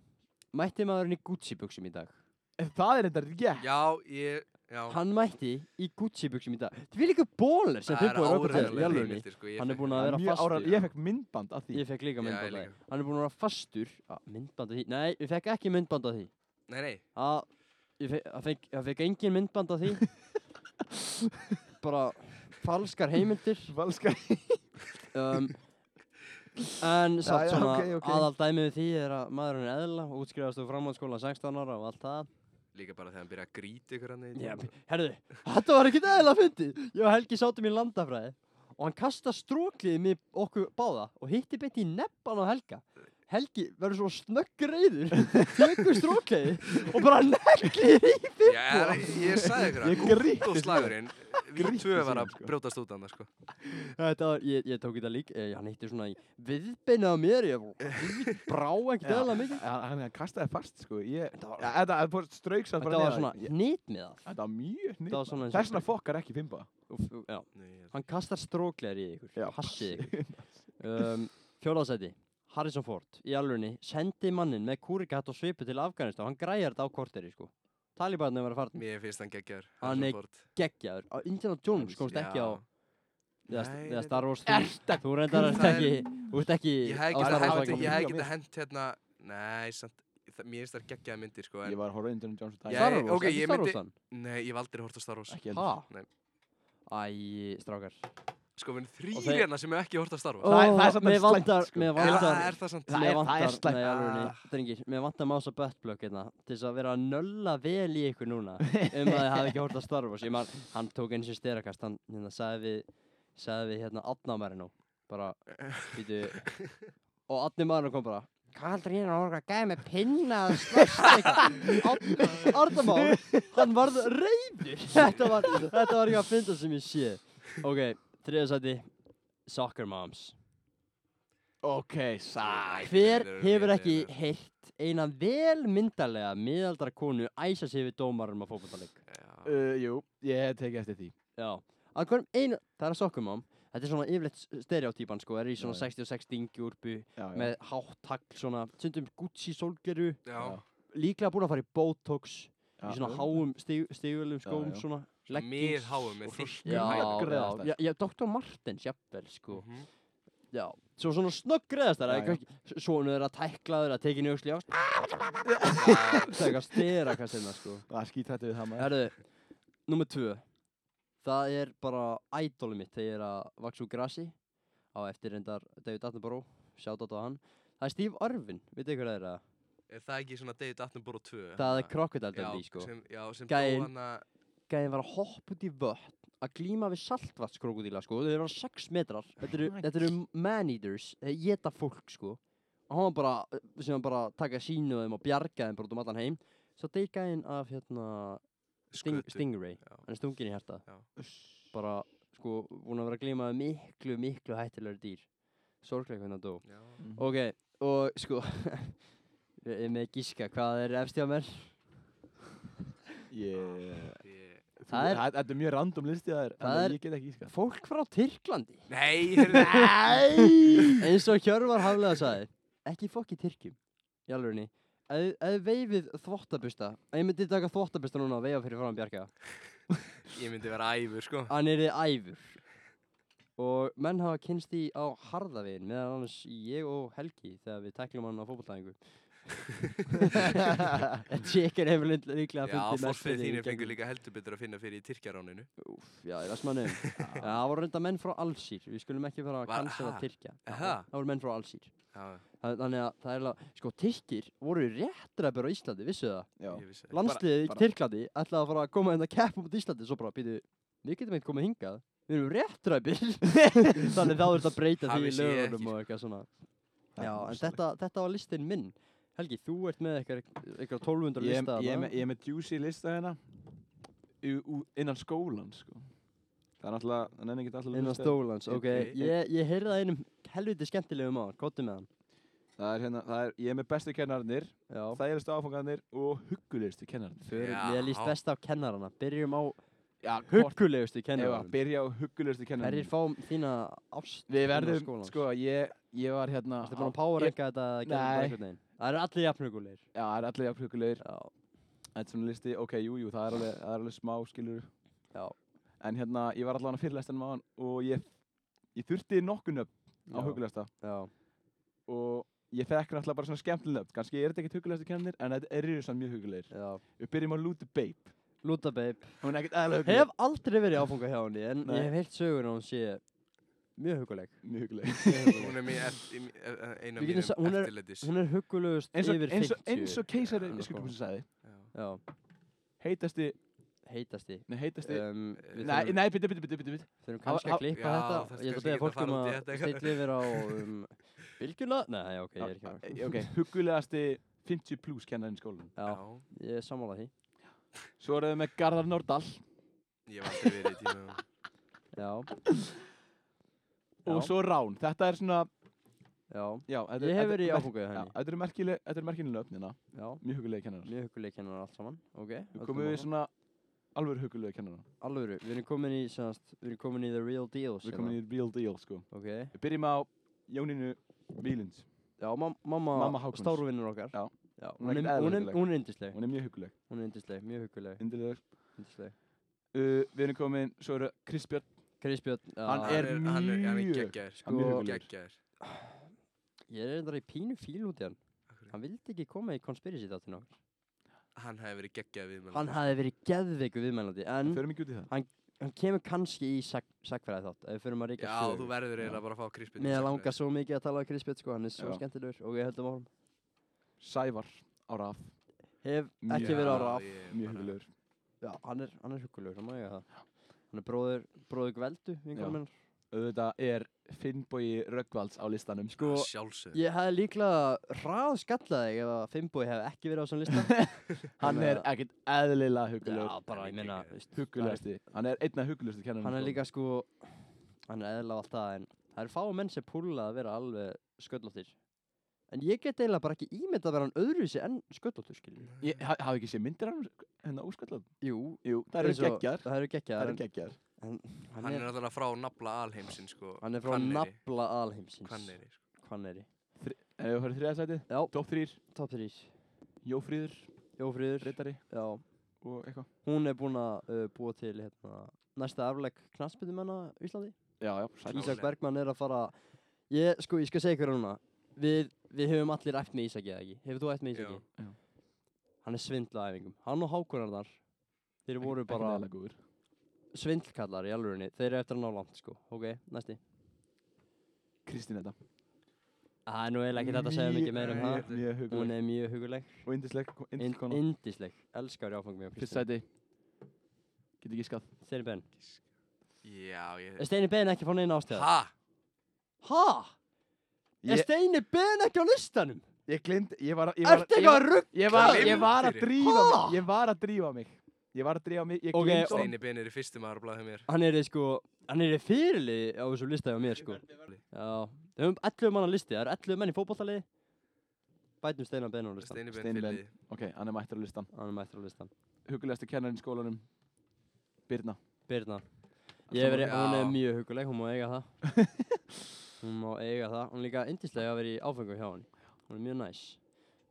Speaker 1: Mætti maðurinn í Gucci buksum í dag
Speaker 2: En það er reynda rétt.
Speaker 3: Já, ég Já,
Speaker 1: Hann mætti í Gucci buksum í dag Þið vil ekki bóler sem fimm búið rökkvölds í
Speaker 3: áreiðanlegar
Speaker 1: alvörunni
Speaker 3: heimildir, sko, ég
Speaker 1: Hann er
Speaker 3: fekk-
Speaker 1: búinn að vera
Speaker 2: Það er mjög
Speaker 1: fastur
Speaker 2: ára- Ég fekk myndband af því.
Speaker 1: Ég fekk líka
Speaker 3: Já, ég
Speaker 1: myndband af
Speaker 3: líka.
Speaker 1: því Hann er búinn að vera fastur ah, Myndband af því Nei, ég fekk ekki myndband af því
Speaker 3: Nei, nei,
Speaker 1: að ég fekk, að fekk, að fekk engin myndband af því bara falskar heimildir
Speaker 2: Valska.
Speaker 1: um, en samt
Speaker 2: já,
Speaker 1: svona
Speaker 2: ok, ok.
Speaker 1: aðal dæmið við því er að maðurinn er eðla útskrifast úr framhaldsskóla 16 ára og allt það
Speaker 3: líka bara þegar hann byrja að gríti ykkur hann
Speaker 1: Já, b- herðu, þetta var ekkert eðla fyndi ég og Helgi sátum í landafræði og hann kasta strókliði með okkur báða og hitti beint í neppan á Helga Helgi verður svo snöggur reyður tekur strókliði og bara neglir í
Speaker 3: Ég, ég, ég sagði ykkur
Speaker 2: Ég
Speaker 3: að
Speaker 2: grýtti
Speaker 3: gútt og
Speaker 2: sig.
Speaker 3: slagurinn Við
Speaker 2: Grýtti
Speaker 3: tvö var
Speaker 2: sig,
Speaker 3: að
Speaker 2: sko.
Speaker 3: brjótast út hann, sko
Speaker 1: Þetta var, ég, ég tók þetta líka, eh, hann hitti svona í viðbeina á mér, ég bara- brá ekkert eðla mikið.
Speaker 2: Hann hann kastaði fast, sko. Ég,
Speaker 1: Þetta var-
Speaker 2: Ja, þetta var strauksand
Speaker 1: Þetta var svona hnýt með það.
Speaker 2: Þetta var mjög nýtt.
Speaker 1: var svona eins og
Speaker 2: Þess vegna fokkar ekki fimba.
Speaker 1: Úff, ú, Já,
Speaker 3: Nei, ég-
Speaker 1: hann kastar stróklegar í ykkur,
Speaker 2: Já.
Speaker 1: hassið ykkur. Um, Fjólaðsæti, Harrison Ford, í alvörunni, sendi mannin með kúrikat og svipu til Afganistan, hann græjar þetta á korteri, sko. Talibarnir var að fara
Speaker 3: Mér finnst hann geggjar
Speaker 1: Hann er geggjaður. Á Indiana Jones komst ekki á, eða
Speaker 3: Nei,
Speaker 1: eða
Speaker 3: þetta-
Speaker 1: Star Wars 3. Þú reyndar ert
Speaker 3: Það er-
Speaker 1: ekki, þú ert ekki
Speaker 3: Ég
Speaker 1: á
Speaker 3: hef
Speaker 1: Star
Speaker 3: getað
Speaker 1: Wars
Speaker 2: Star Wars
Speaker 3: hent,
Speaker 1: vagninum.
Speaker 3: ég hef
Speaker 2: líka
Speaker 3: getað
Speaker 2: mér.
Speaker 3: hent hérna Nei, samt, það- mér finnst það geggjaði myndir, sko
Speaker 2: Ég
Speaker 3: en,
Speaker 2: var að horfa á Indiana Jones og
Speaker 3: Ég-
Speaker 1: Star Wars,
Speaker 3: ok,
Speaker 1: ekki
Speaker 3: ég
Speaker 1: Star
Speaker 3: myndi-
Speaker 1: Wars hann.
Speaker 3: Nei, ég hef aldrei hort á Star Wars
Speaker 2: Ekki heldur.
Speaker 1: Ha?
Speaker 3: Nei.
Speaker 1: Æ, strákar.
Speaker 3: Sko, við erum þrýr
Speaker 1: þeir-
Speaker 3: hérna sem hef ekki hort á Star Wars
Speaker 2: Það er-
Speaker 1: Ó,
Speaker 2: það er samt
Speaker 1: mér
Speaker 2: alveg slæmt,
Speaker 1: vantar-
Speaker 2: sko.
Speaker 1: Mér
Speaker 3: Eða
Speaker 1: vantar,
Speaker 3: er það samt
Speaker 2: Það
Speaker 1: mér
Speaker 2: er- það
Speaker 1: vantar,
Speaker 2: er slæmt.
Speaker 1: Nei,
Speaker 3: Ah.
Speaker 1: alveg, drengir, mér vantar mása buttplug hérna til þess að vera að nölla vel í ykkur núna um að þið hafi ekki hórt að Star Wars. Ég man, hann tók eins og styrakast, hann hérna, sagði við, sagði við hérna, Adnamæri nú, bara, býtu, og Adnamæri kom bara, Hvað heldur ég að orga að gæða með pinna að slösta eitthvað? Arnamál, hann varð reyður. Þetta var, þetta var eitthvað að finna sem ég sé. Ok, þriðasæti, Soccer Moms.
Speaker 2: Ok, sæl.
Speaker 1: Hver
Speaker 3: Þeir eru
Speaker 1: hefur ekki
Speaker 3: lélegir.
Speaker 1: heyrt eina vel myndarlega miðaldra konu æsa sig við um dómarum á fótballleik?
Speaker 3: Já.
Speaker 2: Uh, jú, ég hef tekið eftir því.
Speaker 1: Já. Að hverjum einu, það er að sokkum ám, þetta er svona yfirleitt stereotypan sko, er í svona
Speaker 2: Já, já.
Speaker 1: 66 dingjúrpu
Speaker 2: Já, já.
Speaker 1: með hátt tagl svona, stundum Gucci sólgeru,
Speaker 3: Já,
Speaker 2: Já.
Speaker 1: líklega búin að fara í Botox,
Speaker 2: Já.
Speaker 1: í svona háum stig, stigulum skóm
Speaker 2: já.
Speaker 1: svona,
Speaker 3: Mið háum með
Speaker 2: og svo
Speaker 3: þykkum
Speaker 1: Já,
Speaker 2: Snöggreiðastar.
Speaker 1: já, já, já, Dr. Martens, jafnvel, sko.
Speaker 3: Mhm.
Speaker 1: Já, svo svona snöggreðast þar,
Speaker 2: Já, já.
Speaker 1: svona er að tækla þeir að tekinu auksli á, það er eitthvað stera hvað sinna, sko.
Speaker 2: Það er skítrættið við það maður.
Speaker 1: Herðu, nummer tvö Það er bara ædolið mitt þegar ég er að vaksa úr grasi á eftir reyndar David Attenborough, sjátt á hann Það er Steve Irwin, veitu ykkur það er það?
Speaker 3: Er það ekki svona David Attenborough 2?
Speaker 1: Það er
Speaker 3: hana?
Speaker 1: Crocodile
Speaker 3: Já,
Speaker 1: Dundee, sko.
Speaker 3: Sem, já, sem
Speaker 1: Gæinn.
Speaker 3: dó sko, hana,
Speaker 1: Gæðin var að hoppa út í vötn, að glíma við saltvatskrókudíla, sko. Þeir eru 6 metrar.
Speaker 3: Oh
Speaker 1: Þetta eru,
Speaker 2: Right.
Speaker 1: þetta eru man-eaters, þeir geta fólk, sko. Og hann var bara, sem hann bara að taka sínu af þeim og bjarga þeim bara út um allan heim. Svo deyr gæðin af, hérna, sting,
Speaker 3: Skutu.
Speaker 1: Stingray.
Speaker 3: Já.
Speaker 1: Hann er stungin í hérta.
Speaker 3: Já.
Speaker 1: Bara, sko, búin að vera að glíma við miklu, miklu hættilegur dýr. Sorglega hvernig hann dó.
Speaker 3: Já.
Speaker 1: Ok, og sko Ég er með að gíska hvað er efst hjá mér
Speaker 2: Yeah.
Speaker 3: Ég-
Speaker 1: Það
Speaker 2: Það
Speaker 1: er-
Speaker 2: er, þetta er mjög random listið það er,
Speaker 1: Það er-
Speaker 2: ég get ekki íska.
Speaker 1: Fólk frá Tyrklandi
Speaker 3: Nei, heyrðu,
Speaker 1: Nei Eins og Hjörvar Haflega sagði Ekki fokk í Tyrkjum Í alvegni Ef ef veifið þvottabusta Ef ég myndi taka þvottabusta núna og veifa fyrir fram Bjarka
Speaker 3: ég myndi vera æfur, sko.
Speaker 1: Hann er þið æfur Og menn hafa kynst því á harðavegin meðan annars ég og Helgi þegar við teklum hann á fótbolltæðingu Tjekkar hefur líklega fundið
Speaker 3: Já,
Speaker 1: mest
Speaker 3: forfið
Speaker 1: fyrir í
Speaker 3: þínir
Speaker 1: gegnum-
Speaker 3: fengur líka heldur betur að finna fyrir í Tyrkjaráninu.
Speaker 1: Úff, já, í Vestmannum. það voru reynda menn frá Allsýr, við skulum ekki fara að
Speaker 3: Var-
Speaker 1: cancela
Speaker 3: ha?
Speaker 1: Tyrkja. Já,
Speaker 3: Ha?
Speaker 1: Það voru menn frá Allsýr.
Speaker 3: Já,
Speaker 1: Það- Þannig að það er alveg, sko, Tyrkir voru réttræpur á Íslandi, vissu það?
Speaker 2: Já.
Speaker 3: ég vissi. það.
Speaker 1: Landsliðið í
Speaker 2: bara-
Speaker 1: Tyrklandi ætlaði að fara að koma hérna að keppa mot Íslandi, svo bara, býtu, við getum eitthvað komið hingað, við erum réttræpir. Þannig þá er þetta að breyta
Speaker 3: Það
Speaker 1: því í
Speaker 3: vissi ég
Speaker 1: lögunum
Speaker 3: ekki,
Speaker 1: og eitthvað svona.
Speaker 2: sko. Það er
Speaker 1: Já, en
Speaker 2: rosalegt.
Speaker 1: þetta, þetta var listin minn. Helgi, þú ert með eitthvað, eitthvað 1200
Speaker 2: Ég,
Speaker 1: lista.
Speaker 2: ég, er
Speaker 1: þarna.
Speaker 2: með- ég er með juicy lista hérna Ú- ú- innan skólan sko. Það er náttúrulega, það er ekki alltaf
Speaker 1: Innan stólans, ok.
Speaker 3: Ok.
Speaker 1: Ég, ég heyrði það einum helviti skemmtilegum á, kottu með hann.
Speaker 2: Það er hérna, það er, ég er með bestu kennarnir,
Speaker 1: Já.
Speaker 2: þægilegustu áfangarnir og huggulegustu kennarnir.
Speaker 1: Förum,
Speaker 3: Já.
Speaker 1: Mér líst best á kennarana. Byrjum á
Speaker 2: Já, hvort
Speaker 1: huggulegustu
Speaker 2: ef að
Speaker 1: kennaranum.
Speaker 2: byrja á huggulegustu
Speaker 1: Hverjir
Speaker 2: kennarnir.
Speaker 1: fá þína ást?
Speaker 2: Við
Speaker 1: innan
Speaker 2: verðum,
Speaker 1: skólans?
Speaker 2: sko, ég, ég var hérna
Speaker 1: Ertu búin
Speaker 2: á-
Speaker 1: að power
Speaker 2: ég-
Speaker 1: ranka þetta? eða gerðu bara
Speaker 2: Nei.
Speaker 1: einhvern veginn? Það eru allir jafnhugulegir.
Speaker 2: Já, það er allir jafn huggulegir.
Speaker 1: Já.
Speaker 2: Þetta er svona listi, ok, jú, jú, það er alveg, það er alveg smá, skilur.
Speaker 1: Já.
Speaker 2: En hérna, ég var allavega fyrirlestan með hann og ég, ég þurfti nokkuð nöfn á
Speaker 1: Já.
Speaker 2: huggulegasta.
Speaker 1: Já.
Speaker 2: Og ég fekk náttúrulega bara svona skemmtileg nöfn. Kanski er þetta ekkert huggulegustu kennarnir, en þetta eru svona mjög huggulegir.
Speaker 1: Já.
Speaker 2: Við byrjum á Lúti Babe.
Speaker 1: Lúta babe.
Speaker 2: Hún er ekkert eðalega hugguleg.
Speaker 1: Hef aldrei verið áfunga hjá henni en
Speaker 2: Nei.
Speaker 1: ég hef heyrt sögur að hún sé mjög huguleg.
Speaker 2: Mjög hugguleg.
Speaker 3: Hún er mér eft- í- í- eh, ein af
Speaker 1: Við getum
Speaker 3: mínum
Speaker 1: sa- hún er-
Speaker 3: eftirlitis.
Speaker 1: Hún er hugulegust
Speaker 2: Eins og,
Speaker 1: yfir 50.
Speaker 2: eins og, eins og keisari,
Speaker 3: Já,
Speaker 2: ég skil
Speaker 1: sko.
Speaker 2: hvað sem sagði.
Speaker 3: Já.
Speaker 1: Já.
Speaker 2: Heitasti,
Speaker 1: Heitasti.
Speaker 2: nei, heitasti.
Speaker 1: Um, við
Speaker 2: nei,
Speaker 1: þurfum-
Speaker 2: nei, byttu, byttu, byttu, byttu.
Speaker 1: Þurfum
Speaker 2: Hafa-
Speaker 1: kannski að
Speaker 2: hafa-
Speaker 1: klippa
Speaker 3: Já,
Speaker 1: þetta.
Speaker 3: þarft
Speaker 1: Ég ætla að
Speaker 3: kannski
Speaker 1: beðja
Speaker 3: ekki
Speaker 1: fólk
Speaker 3: að
Speaker 1: um
Speaker 3: fara út í
Speaker 1: að
Speaker 3: þetta eitthvað.
Speaker 1: stilla yfir á um, bylgjuna. Nei, já, ok, ég er ekki að
Speaker 2: Ok, huggulegasti 50 pluss kennarinn í skólanum.
Speaker 1: Já, ég er sammálað því.
Speaker 2: Svo erum við með Garðar Nordahl
Speaker 3: Ég var aldrei verið í tíma.
Speaker 1: Já,
Speaker 2: og
Speaker 1: Já.
Speaker 2: svo Rán. Þetta er svona,
Speaker 1: já.
Speaker 2: já, þetta
Speaker 1: Ég hef
Speaker 2: þetta-
Speaker 1: verið í
Speaker 2: merk-
Speaker 1: áfungaði
Speaker 2: Já,
Speaker 1: henni.
Speaker 2: þetta eru merkileg, þetta eru merkileg nöfnina,
Speaker 1: Já,
Speaker 2: mjög hugulegi kennarar.
Speaker 1: mjög hugguleg kennar allt saman. Ok,
Speaker 2: Við komum við svona alveg hugulegi kennarar.
Speaker 1: Alvöru, við erum komin í, semast, við erum komin í the real deal.
Speaker 2: Við komum í real deal, sko.
Speaker 1: Ok,
Speaker 2: Við byrjum á Jóninu Vílins.
Speaker 1: já, mam mamma,
Speaker 2: Mamma Hákons.
Speaker 1: Stárvinnur okkar.
Speaker 2: Já.
Speaker 1: Já,
Speaker 2: Hún er
Speaker 1: hún er,
Speaker 2: ekkert eðlilega
Speaker 1: hún er,
Speaker 2: hugguleg.
Speaker 1: hún er yndisleg.
Speaker 2: Hún er mjög huguleg,
Speaker 1: Hún er yndisleg, mjög hugguleg,
Speaker 2: indileg.
Speaker 1: yndisleg.
Speaker 2: Uh, við erum komin, svo eru Kristbjörn.
Speaker 1: Chris Björn, já,
Speaker 2: Hann er
Speaker 3: Hann er, hann er
Speaker 2: mjög-
Speaker 3: geggjær.
Speaker 2: hann er mjög
Speaker 1: Sko-
Speaker 2: huggulegur.
Speaker 3: Geggjær.
Speaker 1: ég er reyndar í pínu fíl út í hann.
Speaker 3: Af hverju?
Speaker 1: Hann vildi ekki koma í conspiracy þáttinn okkar.
Speaker 3: Hann hefði verið geggjær við mér.
Speaker 1: Hann hafi verið geðveiku viðmælandi, en
Speaker 2: Förum ekki út í það.
Speaker 1: hann kemur kannski í sak sakfæraði þátt, ef við förum að ríka
Speaker 3: Já, þú verður eiginlega bara að fá krispið.
Speaker 1: Mér langar svo mikið að tala um Chris Björn, sko, hann er svo
Speaker 2: Já.
Speaker 1: skemmtilegur og ég höldum á
Speaker 2: Sævar á raf,
Speaker 1: Hef
Speaker 2: Mjög-
Speaker 1: ekki verið á raf.
Speaker 2: mjög hugulegur.
Speaker 1: Já, hann er, hann er huggulegur, hann má ég það. Hann er bróður, bróður Gveldu,
Speaker 2: Já.
Speaker 1: vinkonum hennar.
Speaker 2: Auðvitað er Finnbogi Röggvalds á listanum, sko.
Speaker 3: Sjálfsög.
Speaker 1: Ég hefði líklega ráð skallað þig ef að Fimboi hef ekki verið á svona lista.
Speaker 2: Hann er ekkert eðlilega
Speaker 1: Já,
Speaker 2: hugulegur.
Speaker 1: bara, ég meina,
Speaker 3: Hann er
Speaker 1: veist,
Speaker 2: Hugulegasti. Hann er einna hugulegasti kennarinn.
Speaker 1: hann er
Speaker 2: sko.
Speaker 1: líka sko, hann er eðla allt það, en það er fá menn sem púla að vera alveg sköllóttir. En ég get eiginlega bara ekki ímyndað að vera hann öðruvísi en sköllóttur, skiljum.
Speaker 2: Ég ha- hafi ekki séð myndir af hann hérna óskallað?
Speaker 1: Jú,
Speaker 2: Jú, það eru
Speaker 1: eins og-
Speaker 2: geggjar.
Speaker 1: Það eru geggjar.
Speaker 2: Það eru
Speaker 1: en
Speaker 2: geggjar.
Speaker 1: Hann,
Speaker 3: Hann er
Speaker 1: er,
Speaker 3: alltaf frá nafla alheimsin, sko.
Speaker 1: hann er frá
Speaker 3: Hvanneyri.
Speaker 1: nafla alheimsins.
Speaker 3: Hvanneyri, sko.
Speaker 1: Hvanneri.
Speaker 2: En ef við höfum þriða sætið,
Speaker 1: Já,
Speaker 2: top 3,
Speaker 1: top 3.
Speaker 2: Jófríður,
Speaker 1: Jófríður,
Speaker 2: Rittari
Speaker 1: já.
Speaker 2: og eitthvað.
Speaker 1: Hún er búin að uh, búa til hérna, næsta aflegg knastbyrnumenna Íslandi.
Speaker 2: Já, já, sætið.
Speaker 1: Ísak
Speaker 3: Klárlega.
Speaker 1: Bergmann er að fara ég, sko, ég skal segja ykkur núna við, við hefum allir æft með Ísaki eða ekki hefur þú æft með Ísaki?
Speaker 2: Já. Já.
Speaker 1: hann er svindlað æfingum, hann og Hákonar þar þeir voru bara
Speaker 2: Ekki góður.
Speaker 1: svindlkallar í alvörunni þeir eru eftir að ná langt sko, ok, næsti
Speaker 2: Kristín þetta.
Speaker 1: Það er nú eiginlega ekki þetta að segja mikið meira um
Speaker 3: Mjög-
Speaker 1: það.
Speaker 2: Mjög-
Speaker 1: Hún
Speaker 2: Mjög huguleg
Speaker 1: er mjög huguleg.
Speaker 2: og indisleg,
Speaker 1: In-
Speaker 2: indisleg kona
Speaker 1: Yndisleg. Elskar áfangum ég.
Speaker 2: Fyrst sæti Get ekki skað
Speaker 1: Steini Ben.
Speaker 3: Já,
Speaker 1: Er
Speaker 3: ég...
Speaker 1: Steini Ben ekki fór neina ástæða?
Speaker 3: Ha?
Speaker 1: Ha? Er
Speaker 2: Ég,
Speaker 1: Steini Ben ekki á listanum?
Speaker 2: ég glind, ég var að ég var-
Speaker 1: Ertu
Speaker 2: ég
Speaker 1: eitthvað
Speaker 2: var-
Speaker 1: að rugg?
Speaker 2: Ég var,
Speaker 3: Gleymdir
Speaker 2: ég var að
Speaker 3: þér?
Speaker 2: drífa
Speaker 1: Ha?
Speaker 2: mig Ég var að drífa mig Ég var að drífa mig Ég
Speaker 1: Ok,
Speaker 2: okay, glimt
Speaker 3: Steini Ben er í fyrstum aðra blæðið mér.
Speaker 1: Hann er í sko, hann er í fyrirli á þessu listaði á mér sko. Já, við höfum 11 manna listi, það eru 11 menn í fótballtaliði. Bætum Steina Ben á listan.
Speaker 3: Steini Ben
Speaker 2: Steini Ben.
Speaker 3: fylliði.
Speaker 2: Ok, hann er mættur á listan
Speaker 1: Hann er mættur á listan.
Speaker 2: Hugulegasti kennarinn í skólanum Birna
Speaker 1: Birna. Ég hef verið,
Speaker 3: Já.
Speaker 1: hún er mjög huguleg, hún má eiga það. hún má eiga það. Hún er líka yndislega að vera í áfengum hjá hann. Hún er mjög næs.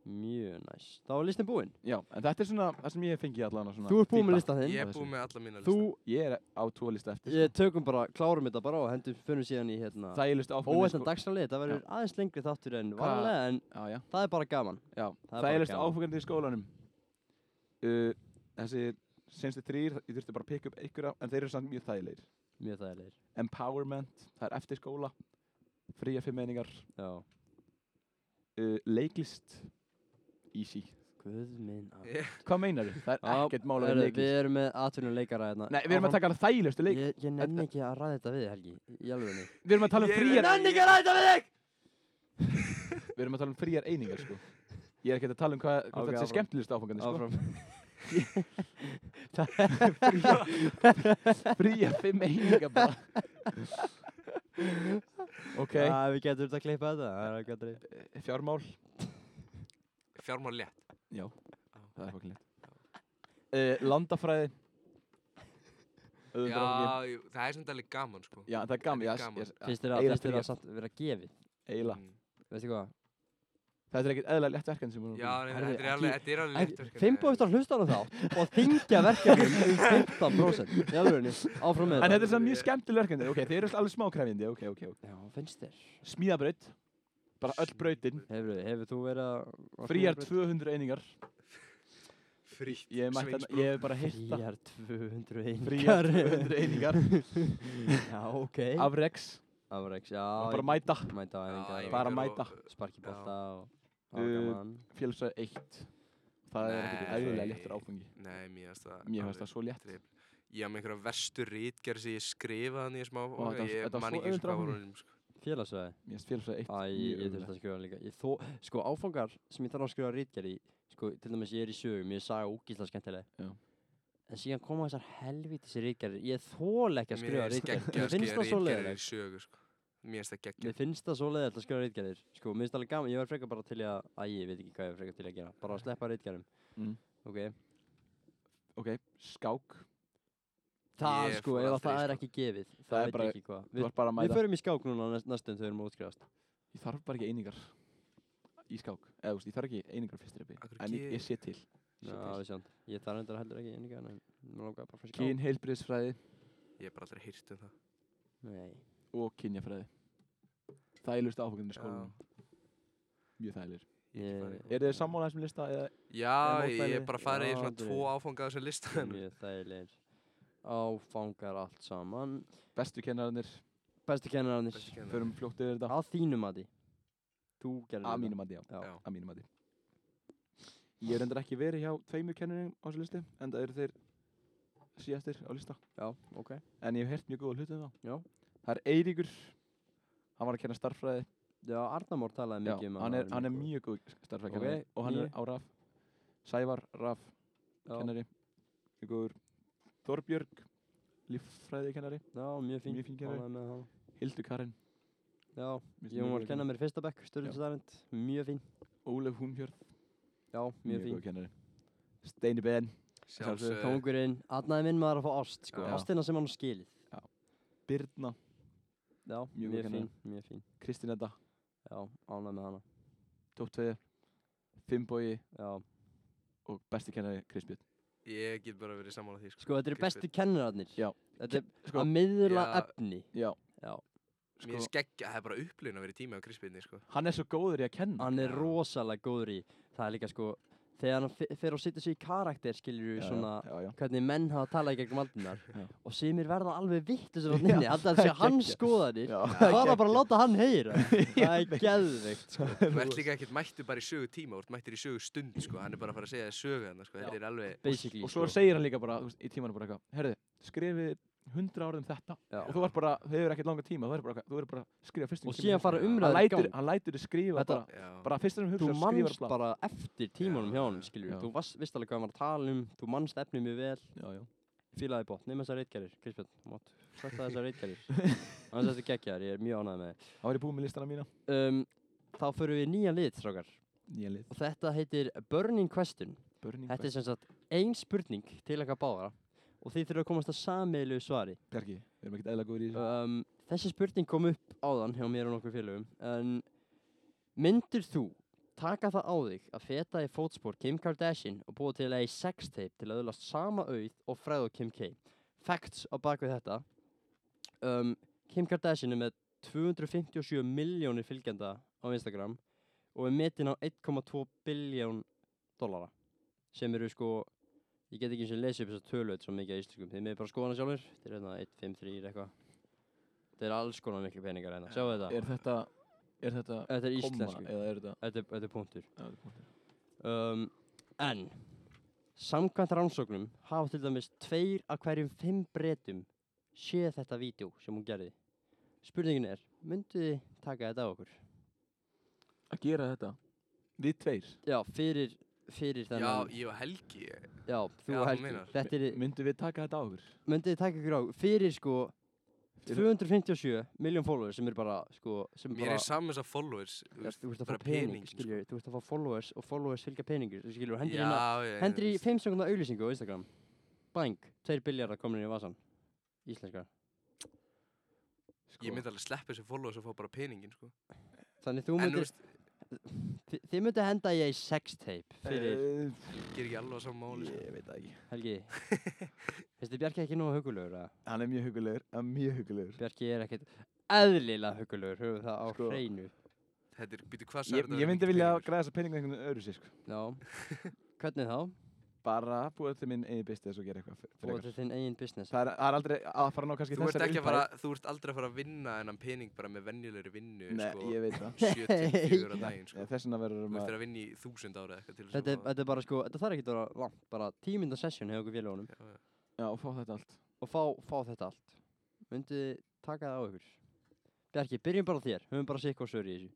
Speaker 1: Mjög næs. Þá var listin búinn.
Speaker 2: Já, en þetta er svona Það sem ég fengi allan að svona
Speaker 1: Þú ert búinn með
Speaker 2: feedback.
Speaker 1: listan þinn.
Speaker 3: Ég er
Speaker 2: þessu.
Speaker 3: búið með alla mína
Speaker 2: Þú,
Speaker 3: lista.
Speaker 2: ég er á tvo lista eftir
Speaker 1: Ég tökum bara, klárum þetta bara og hendum fyrir síðan í hérna.
Speaker 2: Það er list áfram
Speaker 1: Óættan dagsnáli, þetta verður aðeins lengri þáttur en
Speaker 2: sko. Hvað-
Speaker 1: varlega en
Speaker 2: Já, já
Speaker 1: það er bara gaman.
Speaker 2: Já,
Speaker 1: er
Speaker 2: það
Speaker 1: bara
Speaker 2: er list
Speaker 1: gaman.
Speaker 2: áfengandi í skólanum uh, Þessi senstu þrýr, ég þurfti bara að pikka upp einhverja En þeir eru samt mjög þægilegir
Speaker 1: Mjög þægilegir.
Speaker 2: Empowerment, það er eftir skóla Fría fimm meiningar
Speaker 1: Já.
Speaker 2: uh, Leiklist Easy
Speaker 1: Guð minn að...
Speaker 3: Ég-
Speaker 2: Hvað meinar þið? Það er
Speaker 1: Já,
Speaker 2: ekkert mál að
Speaker 1: heyrðu,
Speaker 2: vera leiklist
Speaker 1: Við erum með atvinnuleikara hérna.
Speaker 2: Nei, við erum að taka alveg þægilegustu leik
Speaker 1: Ég, ég nenni ekki að ræða þetta við, Helgi. Í alveg neitt.
Speaker 2: Við erum að tala um
Speaker 3: Ég-
Speaker 2: fríar
Speaker 3: Nenni
Speaker 1: ekki að ræða þetta við þig!
Speaker 2: Við erum að tala um fríar einingar sko Ég er ekkert að tala um hvað, hvað
Speaker 1: Ok,
Speaker 2: þetta
Speaker 1: áfram.
Speaker 2: er skemmtilegust áfangandi sko
Speaker 1: Áfram.
Speaker 2: Fríar fimm einingar bara Ok,
Speaker 1: Okay. Æ, við getum þetta að klippa þetta, það er ekki að dreif.
Speaker 2: fjármál
Speaker 3: Fjármál létt.
Speaker 2: Já, það er fokkin létt uh, Landafræði Auðvitað áfangi.
Speaker 3: Já, jú, það er samt alveg gaman, sko.
Speaker 2: Já, það er gaman, já,
Speaker 3: Þetta er gaman.
Speaker 2: yes,
Speaker 1: Finnst þér að,
Speaker 2: eiginlega
Speaker 1: finnst þér
Speaker 2: fríar,
Speaker 1: að samt vera gefið?
Speaker 2: eiginlega.
Speaker 3: Mm.
Speaker 1: Veistu hvað?
Speaker 2: Þetta er ekkert eðlilega létt verkefni sem við erum
Speaker 3: Já,
Speaker 2: að
Speaker 3: nei,
Speaker 1: Herðu,
Speaker 3: þetta er alveg, þetta er alveg létt verkefni.
Speaker 1: Fimm bóðist á hlustanum þátt og þingja verkefnum um 15% í alveg Áfram
Speaker 2: búin
Speaker 1: með
Speaker 2: En
Speaker 1: þetta.
Speaker 2: þetta er samt mjög skemmtileg verkefni Ok, þeir eru alveg smá krefjandi, ok, ok, ok
Speaker 1: Já, finnst þér.
Speaker 2: Smíðabraut Bara öll brautin
Speaker 1: Hefur, hefur þú verið að... að
Speaker 2: Fríar
Speaker 1: smíða
Speaker 2: 200 einingar
Speaker 3: Frítt.
Speaker 2: Ég hef mætt þarna-
Speaker 3: sveinsbrú.
Speaker 2: ég hef bara
Speaker 1: brauð?
Speaker 2: heyrt það
Speaker 1: Fríar 200 einingar.
Speaker 2: Fríar 200 einingar
Speaker 1: Já, ok.
Speaker 2: Af Rex
Speaker 1: Afreiks, já.
Speaker 2: Og bara
Speaker 1: ég-
Speaker 2: mæta
Speaker 1: Mæta á
Speaker 3: Já,
Speaker 1: æfingar.
Speaker 2: Bara
Speaker 3: æfingar
Speaker 2: mæta.
Speaker 3: og-
Speaker 1: og Sparki bolta og... Já,
Speaker 2: Uh,
Speaker 1: gaman.
Speaker 2: Fjölsæð 1 Það er ekkert
Speaker 1: Nei.
Speaker 2: eðlilega léttur áfangi
Speaker 3: Nei, mér finnst það
Speaker 2: Mér
Speaker 3: alveg
Speaker 2: finnst það svo létt
Speaker 3: drep- Ég haf með einhverja verstu rítgerð sem ég skrifaði hann í smá
Speaker 2: Ó, þetta var-
Speaker 3: Ég
Speaker 2: þetta var
Speaker 3: man
Speaker 2: svo
Speaker 3: ekki eins og
Speaker 2: auðveld
Speaker 3: hvað voru
Speaker 2: áfangi.
Speaker 3: honum sko.
Speaker 1: Félagsvegi.
Speaker 2: Mér finnst fjölsæð 1
Speaker 1: Æ, ég, ég þurfti að skrifa líka. Ég þó, sko, áfangar sem ég þarf að skrifa rítgerð í, sko, til dæmis ég er í sögum, ég er saga úkisla skemmtileg.
Speaker 2: Já.
Speaker 1: En síðan koma þessar helvítis rítgerðir, ég þól ekki að skrifa
Speaker 3: Mér finnst
Speaker 1: rítgerðir.
Speaker 3: geggja
Speaker 1: Mér
Speaker 3: að
Speaker 1: finnst
Speaker 3: skrifa
Speaker 1: það svo
Speaker 3: rítgerðir í
Speaker 1: leiðilegt.
Speaker 3: sögu sko. Mér finnst það geggja
Speaker 1: Mér finnst það svo leiðilegt að skrifa rítgerðir. Sko, mér finnst það alveg gaman, ég var frekar bara til í að, æ, ég veit ekki hvað ég var frekar til í að gera. Bara að sleppa rítgerðum.
Speaker 2: Mm.
Speaker 1: Ok.
Speaker 2: Ok, skák
Speaker 1: Það,
Speaker 3: Ég
Speaker 1: sko,
Speaker 3: fór
Speaker 1: ef að
Speaker 3: aldrei í
Speaker 1: það er
Speaker 3: skák.
Speaker 1: ekki gefið, það,
Speaker 2: Það er
Speaker 1: veit
Speaker 2: bara-
Speaker 1: ég ekki hvað.
Speaker 2: Þú
Speaker 1: Við,
Speaker 2: var bara að
Speaker 1: við
Speaker 2: mæta
Speaker 1: förum í skák núna næst, næstum þau erum að útskrifast.
Speaker 2: Ég þarf bara ekki einingar Í skák Eða, þú veist, ég þarf ekki einingar á fyrstu repi
Speaker 3: Af hverju
Speaker 2: En ég,
Speaker 3: ge-
Speaker 2: ég sé til
Speaker 1: Já, við sjáum. Ég þarf endur heldur ekki eininga, en mér langar bara fyrir skák.
Speaker 2: Kyn, heilbriðsfræði
Speaker 3: Ég hef bara aldrei hýrt um það
Speaker 1: Nei.
Speaker 2: og kynjafræði Þægilegust áfangi í
Speaker 3: Já.
Speaker 2: skólanum Mjög þægilegir
Speaker 3: Ég hef ekki
Speaker 1: Ég-
Speaker 3: farið.
Speaker 2: Er þið sammála þessum lista eða
Speaker 3: Já,
Speaker 2: Ég
Speaker 3: ég
Speaker 2: mótmæli-
Speaker 3: hef bara farið í
Speaker 1: Já,
Speaker 3: svona
Speaker 1: aldrei.
Speaker 3: tvo áfanga á þessu
Speaker 1: Þeir eru
Speaker 3: listan
Speaker 1: mjög þægilegir áfangar allt saman
Speaker 2: bestu kennararnir
Speaker 1: bestu kennararnir
Speaker 2: Förum fljótt yfir þetta
Speaker 1: á þínu mati þú gerðir
Speaker 2: Að
Speaker 1: þetta.
Speaker 2: mínum mati, já
Speaker 1: já.
Speaker 3: Já.
Speaker 2: Að mínum mati Ég er endur ekki verið hjá tveimur kennurum á þessu listi en það eru þeir síðastir á lista
Speaker 1: já, ok
Speaker 2: en ég hef hert mjög góða hluti um það
Speaker 1: Já.
Speaker 2: Það er Eiríkur hann var að kenna starffræði
Speaker 1: já, Arnamór talaði
Speaker 2: Já,
Speaker 1: mikið um
Speaker 2: hann, er,
Speaker 1: væri
Speaker 2: hann er
Speaker 1: góður.
Speaker 2: mjög góð starffræði
Speaker 1: Ok,
Speaker 2: og hann
Speaker 1: ég-
Speaker 2: er á RAF Sævar RAF
Speaker 1: já,
Speaker 2: kennari mjög góður Þorbjörg líffræði kennari
Speaker 1: já, mjög fín
Speaker 2: Mjög fín kennari.
Speaker 1: Ánægður með hana.
Speaker 2: Hildur Karin
Speaker 1: já,
Speaker 2: mér finnst
Speaker 1: ég
Speaker 2: mjög
Speaker 1: var
Speaker 2: góð
Speaker 1: að kenna mér í fyrsta bekk stjórnstæðarind, mjög fín
Speaker 2: kennari. Ólef Húnhjörð
Speaker 1: já, mjög fín
Speaker 2: góð kennari Steini Ben
Speaker 3: Sjálfsög
Speaker 1: kongurinn, aðnaði minn maður að fá ást sko.
Speaker 2: Já.
Speaker 1: ástina sem hann á skilið
Speaker 2: Birna
Speaker 1: já,
Speaker 2: Mjög góð
Speaker 1: mjög
Speaker 2: kennari.
Speaker 1: fín, mjög fín
Speaker 2: Kristinetta
Speaker 1: já, ánægð með hana
Speaker 2: Tótt Tveiði Finnbói
Speaker 1: já.
Speaker 2: og besti kennari Kristbjörn
Speaker 3: Ég get bara verið sammála því
Speaker 1: sko, þetta eru
Speaker 3: Kristbjörn.
Speaker 1: bestu kennararnir
Speaker 2: Já.
Speaker 1: þetta er
Speaker 2: Sko-
Speaker 1: að miðla
Speaker 3: Já.
Speaker 1: efni
Speaker 2: Já
Speaker 1: Já.
Speaker 3: Mér
Speaker 2: Sko,
Speaker 3: finnst geggja, það er bara upplifun að vera í tími á krispinni sko
Speaker 2: Hann er svo góður í að kenna
Speaker 1: hann er
Speaker 3: Já.
Speaker 1: rosalega góður í það er líka sko þegar hann fe- fer og situr sig í karakter skilur við svona
Speaker 2: já, já.
Speaker 1: hvernig menn hafa talað gegnum aldunar
Speaker 2: Já.
Speaker 1: og semir verða alveg vittu sem hann
Speaker 2: Já,
Speaker 1: inni alltaf að
Speaker 2: það er
Speaker 1: sé hans
Speaker 2: geggjað.
Speaker 1: skoðanir
Speaker 2: Já,
Speaker 1: það var bara að láta hann heyra það er geðveikt sko.
Speaker 3: Þú ert líka ekkert mættur bara í sögu tíma, þú ert mættur í sögu stund, sko, hann er bara að fara að segja þér sögu hann, sko, þetta er alveg,
Speaker 1: basically
Speaker 2: og svo
Speaker 1: sko.
Speaker 2: segir hann líka bara þú veist, í tímanum bara eitthvað herðu, skrifið 100 árið um þetta
Speaker 1: Já.
Speaker 2: og þú verður bara, þau hefur ekkert langa tíma þú verður bara, eitthvað- þú verður bara að skrifa fyrst
Speaker 1: Og síðan fara umræður í
Speaker 2: hann lætur,
Speaker 1: gang.
Speaker 2: hann lætur þið skrifa
Speaker 1: Þetta-
Speaker 2: bara,
Speaker 3: já,
Speaker 2: bara fyrst sem
Speaker 1: þú
Speaker 2: hugsa
Speaker 1: manst
Speaker 2: skrifa
Speaker 1: bara eftir tímanum hjá hann skilur
Speaker 2: Já.
Speaker 1: við þú varst- vist alveg hvað hann var að tala um þú manst efnið mjög vel
Speaker 2: já, já.
Speaker 1: fílaði bótt nema þessar reitgerðir Kristbjörn mátt svætta þessar reitgerðir annars þetta geggjar ég er mjög ánægð með
Speaker 2: þá er ég búið með listana mína
Speaker 1: þið um, þá förum við í nýjan lit strákar
Speaker 2: nýja lið,
Speaker 1: og þetta heitir Burning Question
Speaker 2: börning,
Speaker 1: Þetta er sem sagt ein spurning til eitthvað báðara og þið þurfa að komast að sameilu svari.
Speaker 2: Bjarki, við erum ekkert eðla góður í þessu
Speaker 1: Um, þessi spurning kom upp áðan hjá mér og nokkur félögum en myndir þú taka það á þig að feta í fótspor Kim Kardashian og búa til ei sextape til að öðlast sama auð og fræð og Kim K. Facts á bakvið þetta. Um, Kim Kardashian er með 257 miljónir fylgjenda á Instagram og er metin á 1,2 biljón dollara sem eru sko ég get ekki eins og lesið upp þess að tölut svo mikið á íslenskum, þið meður bara skoðana sjálfur þeir eru hérna 1, 5, 3 eitthvað þeir eru alls konar miklu peningar hérna, sjáu þetta
Speaker 2: er þetta, er þetta
Speaker 1: þetta er
Speaker 2: komma
Speaker 1: íslensku,
Speaker 2: eða er þetta
Speaker 1: þetta, er- þetta er punktur
Speaker 2: Já, þetta er punktur.
Speaker 1: um, en samkvæmt rannsóknum hafa til dæmis tveir af hverjum fimm breytum séð þetta vídeo sem hún gerði spurningin er, myndu þið taka þetta á okkur?
Speaker 2: að gera þetta, við tveir
Speaker 1: Já, fyrir, fyrir
Speaker 3: já,
Speaker 1: þennan
Speaker 3: ég og Helgi, ég-
Speaker 1: já, þú
Speaker 3: Já,
Speaker 1: og
Speaker 3: þú
Speaker 1: Helgi
Speaker 3: meinar.
Speaker 1: þetta er,
Speaker 2: myndum við taka þetta á okkur
Speaker 1: myndið þið taka ykkur á fyrir sko
Speaker 2: Fyrir-
Speaker 1: 257 miljón followers sem er bara sko sem
Speaker 3: mér
Speaker 1: bara,
Speaker 3: er saman þess að followers, þú
Speaker 1: ja,
Speaker 3: veist,
Speaker 1: þú ert að
Speaker 3: bara
Speaker 1: fá pening,
Speaker 3: pening, sko.
Speaker 1: pening skilur, þú ert að fá followers og followers fylgja peningur þú skilur, hendur hérna
Speaker 3: já, já,
Speaker 1: hendur í
Speaker 3: þú veist.
Speaker 1: 5 sekundar auglýsingu á Instagram bang, 2 biljardar komin inn í vasan íslenskar sko.
Speaker 3: Ég myndi alveg sleppa þessu followers og fá bara peningin, sko.
Speaker 1: þannig þú
Speaker 3: En þú
Speaker 1: myndir,
Speaker 3: veist,
Speaker 1: þi- þið myndir henda í ei sextape fyrir
Speaker 2: Eh,
Speaker 3: ég er ekki alveg á saman máli, sko.
Speaker 2: ég veit það ekki
Speaker 1: Helgi finnst þið Bjarki ekki nógu hugulegur að
Speaker 2: hann er mjög hugulegur, hann er mjög hugulegur
Speaker 1: Bjarki er ekkert eðlilega hugulegur höfum það á
Speaker 2: Sko.
Speaker 1: hreinu
Speaker 3: Þetta er, býtu, hvað sagði
Speaker 2: ég, ég myndi vilja
Speaker 3: sko.
Speaker 2: græða þessa peninga einhvern veginn öðru sér sko.
Speaker 1: já, hvernig þá?
Speaker 2: bara búa til minn eigin bestið og gera eitthvað fyrir
Speaker 1: búið
Speaker 2: eitthvað
Speaker 1: til þinn eigin business
Speaker 2: það er, það er aldrei að fara að ná kannski
Speaker 3: Þú ert
Speaker 2: þessari
Speaker 3: ekki að fara, þú ert aldrei að fara að vinna þennan pening bara með venjulegri vinnu,
Speaker 2: Nei,
Speaker 3: sko.
Speaker 2: ég veit það
Speaker 3: 74 að daginn sko.
Speaker 2: Nei, þess vegna verður um
Speaker 3: Þú ert
Speaker 2: maður
Speaker 3: að vinna í þúsund ára eitthvað til
Speaker 1: Þetta er,
Speaker 3: þess að
Speaker 1: þetta er bara sko, þetta þarf ekki að vera langt, bara tímynda session hefur okkur félagunum
Speaker 3: Já, já.
Speaker 2: já, og fá þetta allt
Speaker 1: og fá, fá þetta allt. Myndið þið taka það á ykkur? Bjarki, byrjum bara á þér, höfum bara sikk og sör í þessu.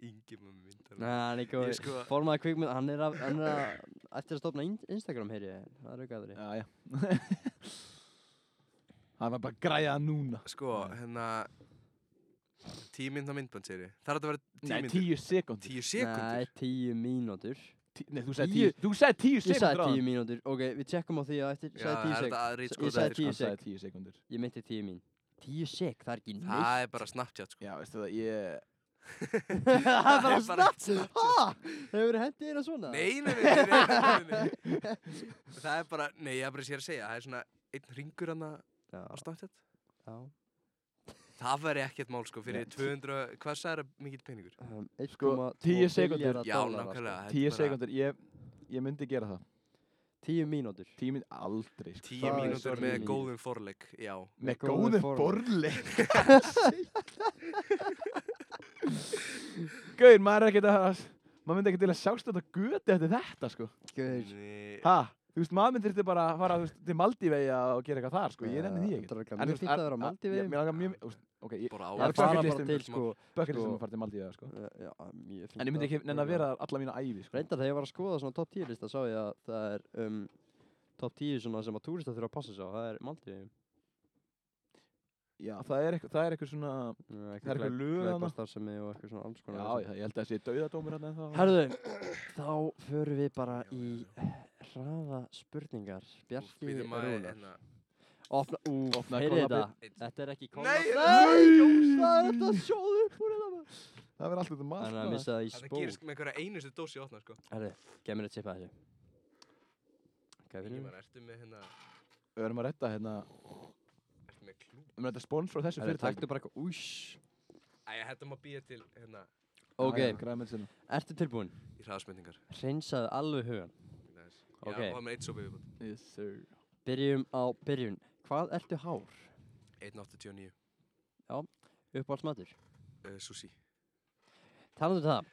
Speaker 3: Ingi með myndar
Speaker 1: Nei, hann er ekki
Speaker 3: Ég
Speaker 1: góður.
Speaker 3: sko-
Speaker 1: Formaði kvikmynd, hann er að, hann er að, eftir að stopna in Instagram, heyri ég, það er aukaðri.
Speaker 2: já, já hann var bara að græja það núna
Speaker 3: Sko, hérna Tíu myndna myndband segir ég Það er að vera tíu
Speaker 2: Nei,
Speaker 3: myndir
Speaker 2: tíu sekundur
Speaker 3: Tíu sekundur
Speaker 1: Nei, tíu mínútur.
Speaker 2: Nei, þú sagði
Speaker 1: Tíu-
Speaker 2: tíu Þú sagði tíu
Speaker 1: Ég sagði
Speaker 2: sekundur
Speaker 1: tíu mínútur, ok, við tjekkum á því að eftir,
Speaker 3: Já,
Speaker 1: sagði
Speaker 3: það
Speaker 1: tíu
Speaker 3: er
Speaker 1: sek.
Speaker 3: þetta aðrið
Speaker 1: Ég
Speaker 3: sko
Speaker 1: sagði tíu
Speaker 2: Hann sagði
Speaker 1: sek.
Speaker 2: tíu sekundur
Speaker 1: Ég meinti tíu mín. Tíu sek, það er ekki neitt.
Speaker 3: Það er bara Snapchat sko
Speaker 2: Já, veistu það, ég
Speaker 1: Það er bara
Speaker 3: Það er bara
Speaker 1: snart. Hæ? Hefur þið hendið hérna svona?
Speaker 3: Nei, nei, nei, nei, nei, nei, nei, nei. Það er bara, nei, ég er bara sér að segja Það er svona einn ringur hann á
Speaker 1: Já,
Speaker 3: Snapchat
Speaker 1: já.
Speaker 3: Það væri ekkert mál sko fyrir
Speaker 2: Nei.
Speaker 3: 200 Hvað sagði það mikill peningur?
Speaker 1: Um,
Speaker 2: Sko,
Speaker 1: 1,2
Speaker 2: tíu sekúndur.
Speaker 1: milljarða
Speaker 3: Já,
Speaker 1: dollara, sko.
Speaker 3: nákvæmlega þetta er
Speaker 2: Tíu
Speaker 3: bara
Speaker 2: sekundur, ég Ég myndi gera það
Speaker 1: Tíu mínútur.
Speaker 2: Tíu minn aldrei sko.
Speaker 3: Tíu
Speaker 1: Það er
Speaker 3: mínútur með
Speaker 1: sorglegt.
Speaker 3: góðum forleik Já,
Speaker 2: Með
Speaker 1: Með góðu
Speaker 2: góðum
Speaker 1: formi.
Speaker 2: borli Gauðin, maður er ekkert að Maður myndi ekkert til að sjást þetta göti eftir þetta sko
Speaker 1: Gauður.
Speaker 3: Nei,
Speaker 2: Ha, þú veist, maður myndir þetta bara að fara þú veist, til Maldíveiða og gera eitthvað þar sko Ég nenni því ekkert
Speaker 1: ekki.
Speaker 2: En, þú
Speaker 1: Mér
Speaker 2: veist,
Speaker 1: finnst að
Speaker 2: er-
Speaker 1: vera á
Speaker 2: er-
Speaker 1: Maldíveyjum.
Speaker 2: ég- Mér langar mjög þú veist, Ok, ég
Speaker 3: bara
Speaker 1: Það er
Speaker 2: er
Speaker 3: á
Speaker 2: bara
Speaker 1: bara bara
Speaker 2: bucketlist-
Speaker 1: til sko.
Speaker 2: bökkir sem
Speaker 1: sko-
Speaker 2: að fara til Maldíveiða sko
Speaker 1: eh, Já, mjög fínt.
Speaker 2: En ég myndi
Speaker 1: að-
Speaker 2: ekki nenni að vera alla mína ævi sko
Speaker 1: Reyndar þegar ég var að skoða svona top 10 lista sá ég að það er um, top 10 svona sem að túristar þurfa að passa sig á. Það er Maldivið.
Speaker 2: Já, það er eitthvað, það er eitthvað svona
Speaker 1: Uh,
Speaker 2: Það er eitthvað lög þarna.
Speaker 1: Gleipastarfsemi og eitthvað svona alls
Speaker 2: Já,
Speaker 1: konar.
Speaker 2: ég, ég held að það sé dauðadómur hann eða
Speaker 1: Herðu, þá förum við bara í hraða spurningar. Bjarki
Speaker 3: Býtum maður
Speaker 1: Rúnar.
Speaker 3: hérna
Speaker 1: Opna, ú,
Speaker 2: Opnaðu
Speaker 1: heyrið þetta.
Speaker 2: kolnafnið.
Speaker 1: Þetta er ekki
Speaker 3: Nei,
Speaker 1: kolnafnið.
Speaker 3: nei,
Speaker 1: Jón, það er þetta sjóðu upp úr þetta. maður.
Speaker 2: Það verður alltaf þetta sko.
Speaker 1: Þannig að
Speaker 2: maður
Speaker 1: missa það í
Speaker 3: Þetta
Speaker 1: spól.
Speaker 3: gerist með einhverja einustu dósi opna sko
Speaker 1: Herðu, gef mér eitt tipp að þessu. Hvað finnum
Speaker 3: Ingimar,
Speaker 1: við?
Speaker 3: ertu með hérna
Speaker 2: Við verðum að redda hérna
Speaker 3: Ertu með klú?
Speaker 2: Við verðum að redda spons frá þessu
Speaker 1: Herðu,
Speaker 2: fyrirtæki
Speaker 1: taktu bara eitthvað ús.
Speaker 3: Æja, þetta má býja til hérna
Speaker 1: Ok,
Speaker 2: græða með sinna
Speaker 1: ertu tilbúin?
Speaker 3: í hraðasmyndingar.
Speaker 1: Hreinsaðu alveg hugan
Speaker 3: Ok.
Speaker 1: Ok.
Speaker 3: Já, og með eitt sopa yfirbútt.
Speaker 2: Yes sir
Speaker 1: Byrjum á byrjun Hvað ertu hár?
Speaker 3: 1.89.
Speaker 1: Uppáhaldsmatur
Speaker 3: Uh, sushi.
Speaker 1: Talandu það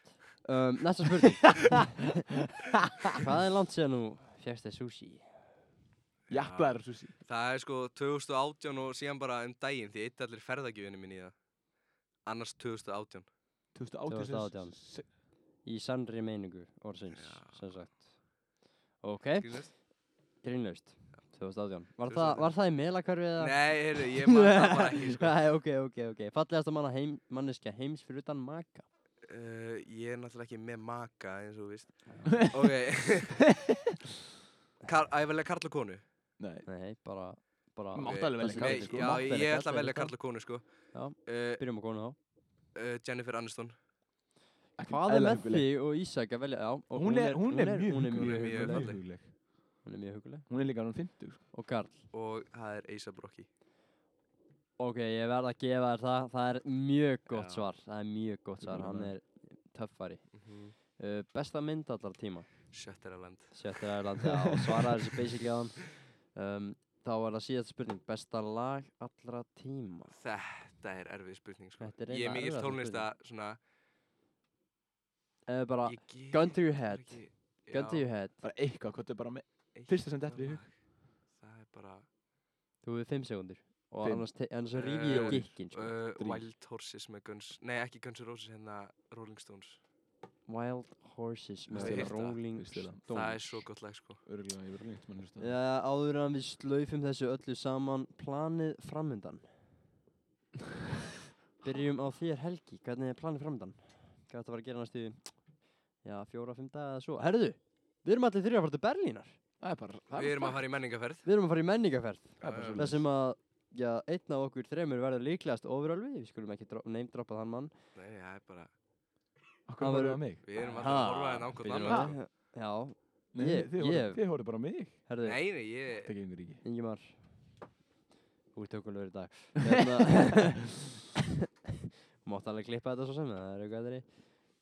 Speaker 1: um, Næsta spurning Hvað er langt séðan nú fjækst þér sushi?
Speaker 2: Jakkvæður sushi
Speaker 3: Það er sko 2018 og síðan bara um daginn því eitt allir ferðagjöfinni mín í það. Annars 2018.
Speaker 1: 2018.
Speaker 2: 2018 Se-
Speaker 1: Í sannri meiningu orðsins
Speaker 3: Já.
Speaker 1: sem sagt Ok,
Speaker 3: Grínast?
Speaker 1: grínlaust 2018 Var,
Speaker 3: 2018.
Speaker 1: það, var það í melakverfi eða?
Speaker 3: Nei, heyrðu, ég man það bara ekki sko.
Speaker 1: Nei, ok, ok, ok Fallegasta manna heim, manneskja heims fyrir utan maka
Speaker 3: Uh, ég er náttúrulega ekki með maka eins og þú veist. Ok. Kar að ég velja karl og konu?
Speaker 2: Nei
Speaker 1: Nei, bara, bara
Speaker 2: Má- Máttu
Speaker 3: Ok.
Speaker 2: alveg velja
Speaker 3: Nei,
Speaker 2: karlinn, sko.
Speaker 3: Já,
Speaker 1: Máttu velja
Speaker 3: ég ætla
Speaker 1: karlinn,
Speaker 3: að velja
Speaker 1: sko.
Speaker 3: karl og konu sko.
Speaker 1: Já.
Speaker 3: Uh,
Speaker 1: Byrjum á konu þá
Speaker 3: uh, Jennifer Aniston.
Speaker 2: Ekki
Speaker 1: Hvað er
Speaker 2: eðlilega
Speaker 1: með
Speaker 2: hugguleg.
Speaker 1: þig og Ísak að velja? Já, og
Speaker 2: Hún er, hún er mjög
Speaker 1: Hún er mjög
Speaker 3: Hún er
Speaker 2: hugguleg.
Speaker 3: mjög
Speaker 1: huguleg
Speaker 3: falleg.
Speaker 2: hugguleg.
Speaker 1: Hún er mjög huguleg
Speaker 2: Hún er líka hann 50 sko.
Speaker 1: Og Karl
Speaker 3: og það er Asa Brocki
Speaker 1: Ok, ég verð að gefa þér það Það er mjög gott
Speaker 3: Já.
Speaker 1: svar Það er mjög gott svar Hann er töffari
Speaker 3: mm -hmm.
Speaker 1: uh, Besta mynd allar tíma
Speaker 3: Shutter Island
Speaker 1: Sjöttir Ærland Já, svaraði þessu basically á um, Þá er það síðast spurning Besta lag allra tíma
Speaker 3: Þetta er erfið spurning sko.
Speaker 1: Þetta er
Speaker 3: Ég er
Speaker 1: eiginlega
Speaker 3: mikill
Speaker 1: erfiðasta
Speaker 3: tónlista svona,
Speaker 1: Eða bara
Speaker 3: ég get-
Speaker 1: Gun to your
Speaker 3: það er
Speaker 1: head
Speaker 3: ekki-
Speaker 1: Gun to
Speaker 3: Já,
Speaker 1: your head
Speaker 2: Bara eitthvað, hvað er bara með
Speaker 3: eitt
Speaker 2: Fyrsta sem dettur í
Speaker 3: lag. Það er bara
Speaker 1: Þú hefur 5 sekundir Og
Speaker 2: Fimm.
Speaker 1: annars, te- annars rífi ég
Speaker 3: Eh,
Speaker 1: gikkin sko.
Speaker 3: uh,
Speaker 2: Dream.
Speaker 3: Wild Horses með Guns Nei ekki Guns N' Roses hérna Rolling Stones
Speaker 1: Wild Horses
Speaker 2: Veistu
Speaker 1: með
Speaker 3: það?
Speaker 1: Rolling
Speaker 2: Veistu það?
Speaker 1: Stones
Speaker 3: Það er svo gott lag sko
Speaker 2: Örgulega, ég verður lengt mann hlusta á það.
Speaker 1: Já, áður en við slaufum þessu öllu saman planið framöndan Byrjum á þér Helgi, hvernig er planið framöndan? Hvað þetta var að gera næstu Já, fjóra, fimm daga eða svo Herðu, við erum allir þrjá að fara til Berlínar
Speaker 2: Það er bara það
Speaker 3: Við erum að
Speaker 2: bara-
Speaker 3: fara í menningaferð
Speaker 1: Við erum að fara í menningaferð
Speaker 2: Það er bara
Speaker 3: Já,
Speaker 2: svoleiðis.
Speaker 1: Það sem að, já, einn af okkur þremur verður líklegast ofurölvi Við skulum ekki neymdroppa þann mann
Speaker 3: Nei það er bara
Speaker 2: Akkur
Speaker 1: Það
Speaker 2: horfðu
Speaker 1: verður-
Speaker 2: á mig
Speaker 3: Við erum alltaf að
Speaker 1: Ha,
Speaker 3: horfa en ákvæmt
Speaker 1: byrjum
Speaker 3: annað sko.
Speaker 1: við? Eh, Já,
Speaker 2: Nei,
Speaker 1: Ég-
Speaker 2: þið
Speaker 1: ég-
Speaker 2: horfðu- Þið horfðu bara á mig
Speaker 1: herðu,
Speaker 3: Nei nei ég
Speaker 2: Það gengur ekki
Speaker 1: Ingemar Úr tökulegur í dag Hérna- Mátt alveg klippa þetta svo sem Það er eitthvað
Speaker 2: Þú
Speaker 1: þeirri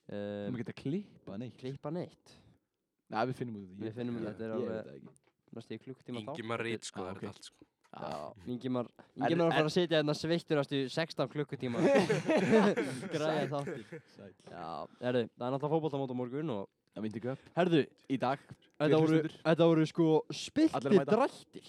Speaker 2: maður
Speaker 1: um,
Speaker 2: geta klippa neitt
Speaker 1: Klippa neitt
Speaker 2: Nei, við finnum út
Speaker 1: Við finnum út úr því, þetta er alveg- Næstu í klukkutíma þá
Speaker 3: Ingi Marít sko
Speaker 2: Ah,
Speaker 3: það er
Speaker 2: ok.
Speaker 3: þetta allt sko
Speaker 1: Já, Ingemar
Speaker 2: En-
Speaker 1: Ingemar er að
Speaker 2: en-
Speaker 1: fara að sitja hérna sveittur Næstu 16 klukkutíma Græja þáttir Já, herðu, það er náttúrulega fótboltamót á morgun og
Speaker 2: Það myndi ekki upp
Speaker 1: Herðu,
Speaker 2: Í dag
Speaker 1: þetta voru,
Speaker 2: hlustendur.
Speaker 1: þetta voru sko spilti
Speaker 2: mæta.
Speaker 1: drættir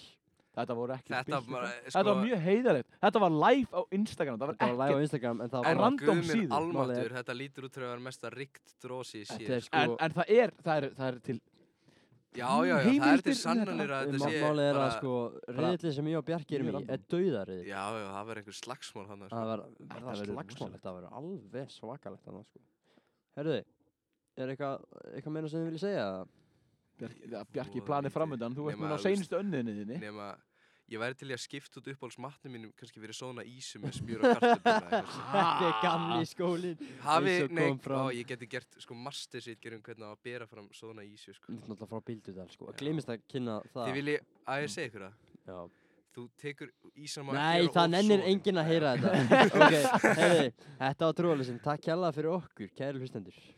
Speaker 2: Þetta voru ekki
Speaker 3: Þetta
Speaker 2: spillt í
Speaker 3: bara
Speaker 2: dag.
Speaker 3: sko
Speaker 2: Þetta var mjög heiðarlegt Þetta var live á Instagram Það
Speaker 1: Þetta var
Speaker 2: var
Speaker 1: live á
Speaker 2: ekki
Speaker 1: Instagram en það
Speaker 3: En
Speaker 1: var
Speaker 2: random
Speaker 3: guð minn
Speaker 2: síður,
Speaker 3: almatur
Speaker 1: málið
Speaker 3: Þetta lítur út þegar mesta ríkt drósi
Speaker 1: Þetta
Speaker 3: sér
Speaker 1: er
Speaker 2: En,
Speaker 1: sko
Speaker 2: en það, er, það, er, það er til
Speaker 3: Já, já, já,
Speaker 2: Mm,
Speaker 3: það er
Speaker 2: heimildir
Speaker 3: til
Speaker 2: um
Speaker 3: sannanir að þetta sé
Speaker 1: Málið er að
Speaker 3: bara-
Speaker 1: sko Riðlið sem ég og Bjarki erum í
Speaker 2: Mjög random.
Speaker 1: er dauðarið
Speaker 3: Já, já, það verður einhver slagsmál sko. hann
Speaker 1: Það var, það
Speaker 2: Þetta verður
Speaker 1: verður slagsmál,
Speaker 2: rosalegt.
Speaker 1: þetta verður alveg svakalegt annað sko. Herðu, er eitthvað, eitthvað meina sem þið viljið segja? eða?
Speaker 2: Bjarki, ja,
Speaker 3: Sko,
Speaker 2: Bjarki planið framöndan Þú ert
Speaker 3: Nema,
Speaker 2: núna
Speaker 3: þú
Speaker 2: á
Speaker 3: veist-
Speaker 2: seinustu önniðinni þinni
Speaker 3: Nefna, ég væri til í að skipta út uppáhalds matnum mínum Kannski verið svona ísum með smjur og kartöfluna
Speaker 1: Þetta er gamli skólinn.
Speaker 3: Hafi,
Speaker 1: Eins og
Speaker 3: nei,
Speaker 1: kom fram.
Speaker 3: á, ég geti gert sko mastersitgerum hvernig á að bera fram svona ísu sko.
Speaker 1: Þetta er náttúrulega frá Bildudal sko.
Speaker 3: Já.
Speaker 1: Gleimist að kynna það.
Speaker 3: Þið vilji, að ég segja ykkur það
Speaker 1: Já.
Speaker 3: Þú tekur ísam
Speaker 1: Nei, það nennir enginn að heyra þetta. ok, herðu, þetta var trúalisinn. Takk hjálpa fyrir okkur, kæri hlustendur.